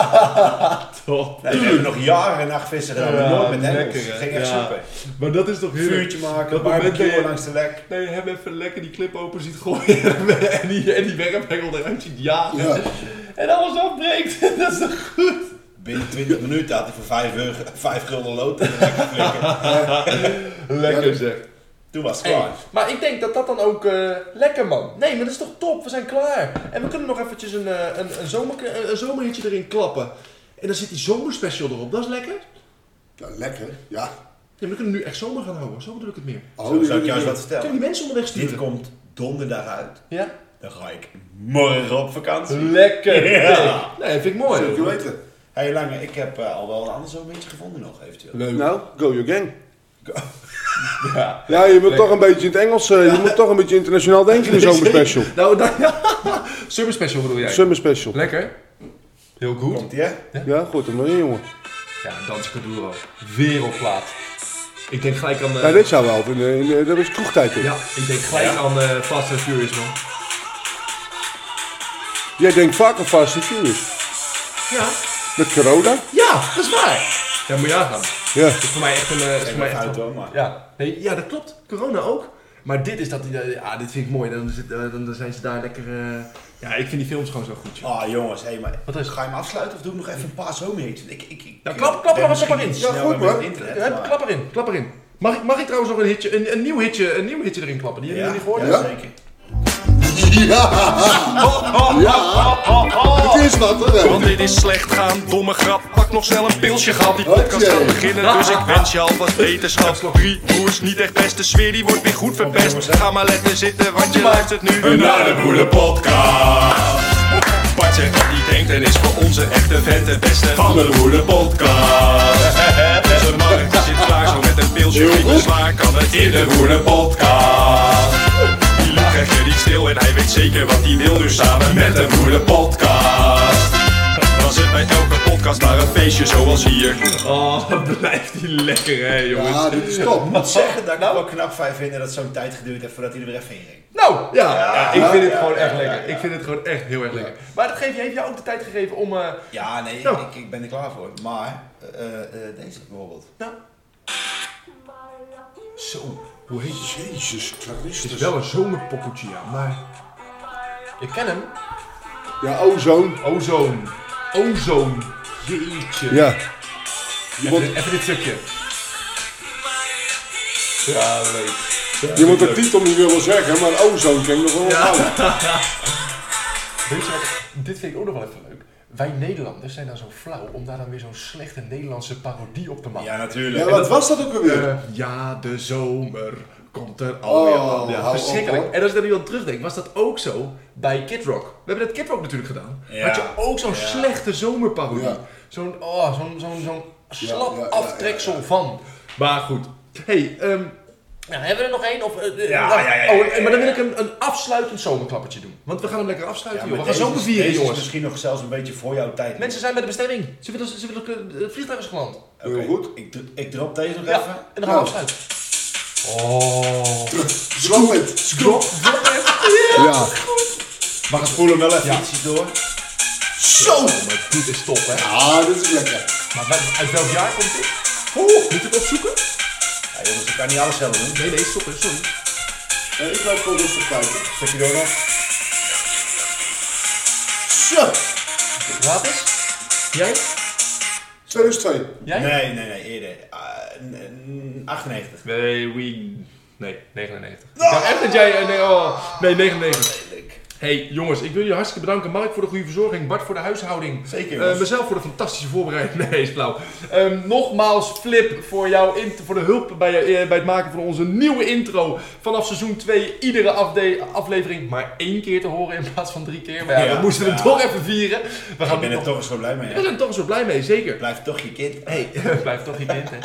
top. Nee, we hebben nog jaren en nacht vissen gedaan, maar Ja, nooit met hengels. lekker, hè? ging echt Ja. super. Maar dat is toch heerlijk. Vuurtje maken, Dat moment dat barbecue je langs de lek. nee, hem even lekker die clip open ziet gooien en die, en die werphengel eruit ziet jagen. Ja. En alles afbreekt. Dat is toch goed? Binnen 20 minuten had hij voor 5, euro, 5 gulden lood en lekker flikken. Lekker zeg. Toen was het klaar. Maar ik denk dat dat dan ook eh, lekker man. Nee, maar dat is toch top. We zijn klaar. En we kunnen nog eventjes een, eh, een, een, zomer, een, een zomerhitje erin klappen. En dan zit die zomerspecial erop. Dat is lekker. Ja, lekker. Ja. Nee, maar we kunnen nu echt zomer gaan houden. Zo bedoel ik het meer. Oh, Zo zou ik die- jou eens wat Kunnen die vertellen. mensen onderweg Dit sturen? komt donderdag uit. Ja? Dan ga ik morgen op vakantie. Lekker. Ja. dik. Nee, vind ik mooi. Zeker weten. Hé hey, Lange, ik heb eh, al wel een ander zo'n beetje gevonden nog eventueel. Leuk. Nou, go your gang. Ja. Ja, je moet toch een beetje in het Engels, eh, je moet toch een beetje internationaal denken in zo'n special. Nou, dan, Summer special bedoel jij? Summer special. Lekker. Heel goed. Komt ie hè? Ja, goed, hem maar in, jongen. Ja, Danse Caduro. Wereldplaat. Ik denk gelijk aan... eh, Ja, dit zou wel, in de- in de- dat is kroegtijd. dit. ja, ik denk gelijk aan eh, Fast and Furious, man. Jij denkt vaak aan Fast and Furious. Ja. Met corona? Ja, dat is waar. Ja, moet je aangaan. Ja. Dat is voor mij echt een... eh, is voor mij echt Fout een- hoor, maar. ja. Nee, ja, dat klopt. Corona ook. Maar dit is dat... die- eh, Ja, dit vind ik mooi. Dan, zit, eh, dan dan zijn ze daar lekker... eh, Ja, ik vind die films gewoon zo goed, joh. Ah jongens, hé, maar Wat is- ga je hem afsluiten of doe ik nog even een paar zomerhits? Ik, ik, ik, Nou, klap- klap er maar eens op maar in. in. Ja, goed, hoor. Internet, Ja, maar- Eh, klap erin, klap erin. Mag ik, mag ik trouwens nog een, hitje, een, een, nieuw hitje, een nieuw hitje erin klappen? Die hebben Ja, jullie gehoord? ja, zeker. Oh. Het is wat, hè? Want dit is slecht gaan, domme grap. Pak nog snel een pilsje, gaat die podcast Hoppakee. gaat beginnen. Dus ik wens je al wat wetenschap. Drie broers, niet echt beste sfeer, die wordt weer goed verpest. Ga maar letten zitten, want je luistert nu naar de Broeder Podcast. Bart zegt wat hij denkt en is voor onze echte vent de beste van de Broeder Podcast. Onze markt zit klaar, zo met een pilsje, niet zwaar kan het in de Broeder Podcast. Die liep krijg je niet stil en hij weet zeker wat hij wil nu samen met de Broeder Podcast. Was het bij elke podcast maar een feestje zoals hier. Oh, wat blijft die lekker, hè, jongens. Ja, dit is top. Nou. Moet zeggen dat ik het wel knap fijn vind dat het zo'n tijd geduurd heeft voordat hij er weer even in ging. Nou, ja, ja, ik vind het gewoon echt lekker. Ik vind het gewoon echt heel erg lekker. Maar dat geeft, heeft jou ook de tijd gegeven om... eh, Ja, nee, Nou. ik, ik ben er klaar voor. Maar eh, eh, deze bijvoorbeeld. nou... Zo, hoe heet het? Jezus Het is Christus. wel een zomerpokkeltje, ja, maar... Dus- Ik ken hem. Ja, ozone. Ozone. Ozone. Jeetje. Ja. Even, wordt- even dit stukje. Ja, leuk. Je moet de titel niet willen zeggen, maar ozone ken ik nog wel Ja. ja. Weet je wat, dit vind ik ook nog wel even leuk. Wij Nederlanders zijn dan zo flauw om daar dan weer zo'n slechte Nederlandse parodie op te maken. Ja, ja, natuurlijk. wat was dat ook alweer? Eh, ja, de zomer komt er alweer Oh, aan. Ja, hou op, verschrikkelijk. hoor. en als ik daar nu aan terugdenk, was dat ook zo bij Kid Rock. We hebben dat Kid Rock natuurlijk gedaan. Ja. Had je ook zo'n slechte zomerparodie. Ja. Zo'n oh, zo'n zo'n zo'n slap ja, ja, aftreksel van. Maar goed. hey, ehm, ja, hebben we er nog één? Of, eh, eh, Ja, nou, ja, ja, ja, oh, en- maar dan wil ja, ik een, een afsluitend zomerklappertje doen. Want we gaan hem lekker afsluiten, joh. maar We gaan deze zomer is- vieren, deze is jongens. misschien nog zelfs een beetje voor jouw tijd. Mensen zijn bij de bestemming. Ze willen, ze willen, eh, het vliegtuig is geland. Heel goed. Ik, dro- ik drop deze nog Ja, en even. dan gaan we afsluiten. Oh. Scrap het. Drop, drop it. Ja. Maar ik voel hem wel even iets door. Zo! Maar dit is top, hè? Ah, dit is lekker. Maar wel- uit welk jaar komt dit? Oh, moet je het opzoeken? Ja, jongens, ik kan niet alles zelf doen. Een Nee, nee, stop, hè, sorry. Ja, ik blijf gewoon rustig kijken. stukje door nog. Zo! Laat eens. Jij? 2002. Jij? Nee, nee, nee, eerder. Ah, n- n- 98. Nee, we... Nee, 99. Nou, echt dat jij... eh, Nee, oh, nee 99. Lelijk. Hé, hey, jongens, ik wil jullie hartstikke bedanken. Mark voor de goede verzorging, Bart voor de huishouding. Zeker, Eh, jongens. mezelf voor de fantastische voorbereiding. Nee, is flauw. Ehm, nogmaals, Flip, voor, jouw int- voor de hulp bij, eh, bij het maken van onze nieuwe intro. Vanaf seizoen 2, iedere afde- aflevering maar één keer te horen in plaats van drie keer. Maar ja, Ja, we moesten het ja. toch even vieren. We gaan Ik ben nu er nog- toch eens zo blij mee. Ik hè. ben er toch zo blij mee, zeker. Blijf toch je kind. Hey. Blijf toch niet in, hè.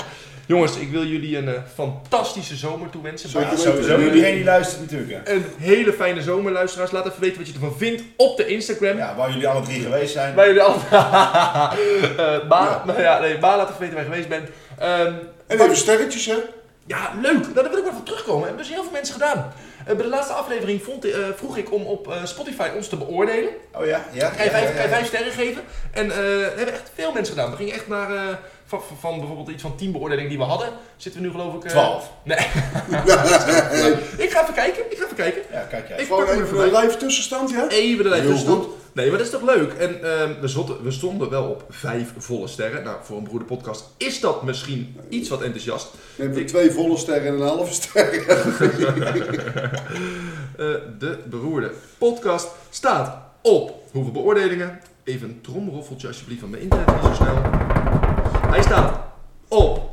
Jongens, ik wil jullie een eh, fantastische zomer toewensen. Zeker. Ja, sowieso iedereen die luistert natuurlijk. hè. Een hele fijne zomer, luisteraars. Laat even weten wat je ervan vindt op de Instagram. Ja, waar jullie alle drie geweest zijn. Waar jullie allemaal... Eh, maar, maar ja, nee, maar laat even weten waar je geweest bent. Ehm, En even sterretjes, hè? ja, leuk. Nou, daar wil ik wel van terugkomen. Hebben dus heel veel mensen gedaan. Eh, bij de laatste aflevering vond, eh, vroeg ik om op eh, Spotify ons te beoordelen. Oh ja, ja. Kan je ja, vijf, ja, kan je ja. vijf sterren geven? En eh, er hebben echt veel mensen gedaan. We gingen echt naar... eh, van, van- van bijvoorbeeld iets van 10 beoordelingen die we hadden, zitten we nu geloof ik... eh, Twaalf. Nee. ik ga even kijken, ik ga even kijken. Ja, kijk jij. Ik pak Gewoon hem er even een voorbij. live tussenstand, ja? Even de lijst Heel tussendoor. Nee, maar dat is toch leuk? En ehm, we, zotten- we stonden wel op vijf volle sterren. Nou, voor een broeder podcast is dat misschien iets wat enthousiast. We hebben twee volle sterren en een halve ster. Eh, de beroerde podcast staat op hoeveel beoordelingen? Even een tromroffeltje alsjeblieft van mijn internet, niet zo snel. Hij staat op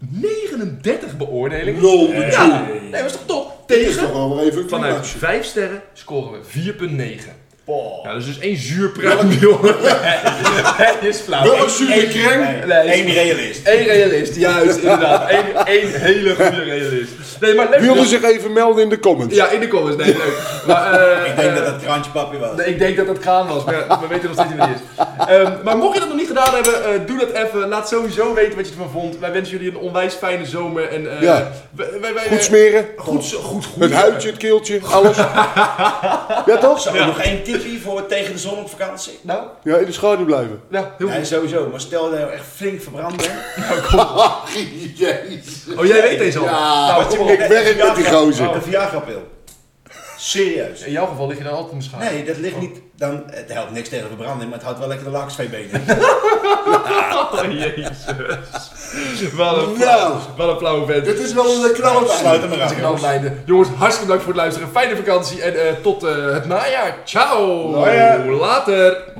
39 beoordelingen. Nul bedoel. Ja, nee, dat is toch top? Dit is toch Tegen, wel weer even een vanuit klimaatje. 5 sterren scoren we 4,9. Boah. Oh, Ja, dat is dus één zuurpruim, jongen. Het is flauw. Wel een zure kreng. Nee, Nee, één realist. Eén realist, juist, inderdaad. Eén, één hele goede realist. Nee, maar leuk. Wilde dat- zich even melden in de comments. Ja, in de comments, nee, leuk. Maar, eh, Ik denk eh, dat dat krantje papje was. nee, ik denk dat dat kraan was, maar ja, we weten nog steeds niet wie het is. Ehm, maar mocht je dat nog niet gedaan hebben, eh, doe dat even. Laat sowieso weten wat je ervan vond. Wij wensen jullie een onwijs fijne zomer. En, eh, Ja. wij- wij- wij- Goed smeren. Goed, zo- goed, goed. Het huidje, het keeltje, alles. Ja, toch? Zou er nog één tipje voor tegen de zon op vakantie? Nou, Ja, in de schaduw blijven. ja, heel Nee, goed. sowieso. Maar stel dat je nou echt flink verbrand bent. Jezus. Oh, jij weet deze al. Ja, nou, wat kom je- op. Ik werk met die gozer. Oh, Een Viagra-pil. Serieus. In jouw geval lig je dan altijd in de schaduw. Nee, dat ligt niet. Dan, het helpt niks tegen verbranding, maar het houdt wel lekker de laks twee benen. Oh, jezus. Wat een, Nou. wat een flauwe vent. Dit is wel een knallend Sluit hem eraan. Nou, jongens. meiden. Jongens, hartstikke bedankt voor het luisteren. Fijne vakantie en eh, tot eh, het najaar. Ciao. Hoi, hè. Later.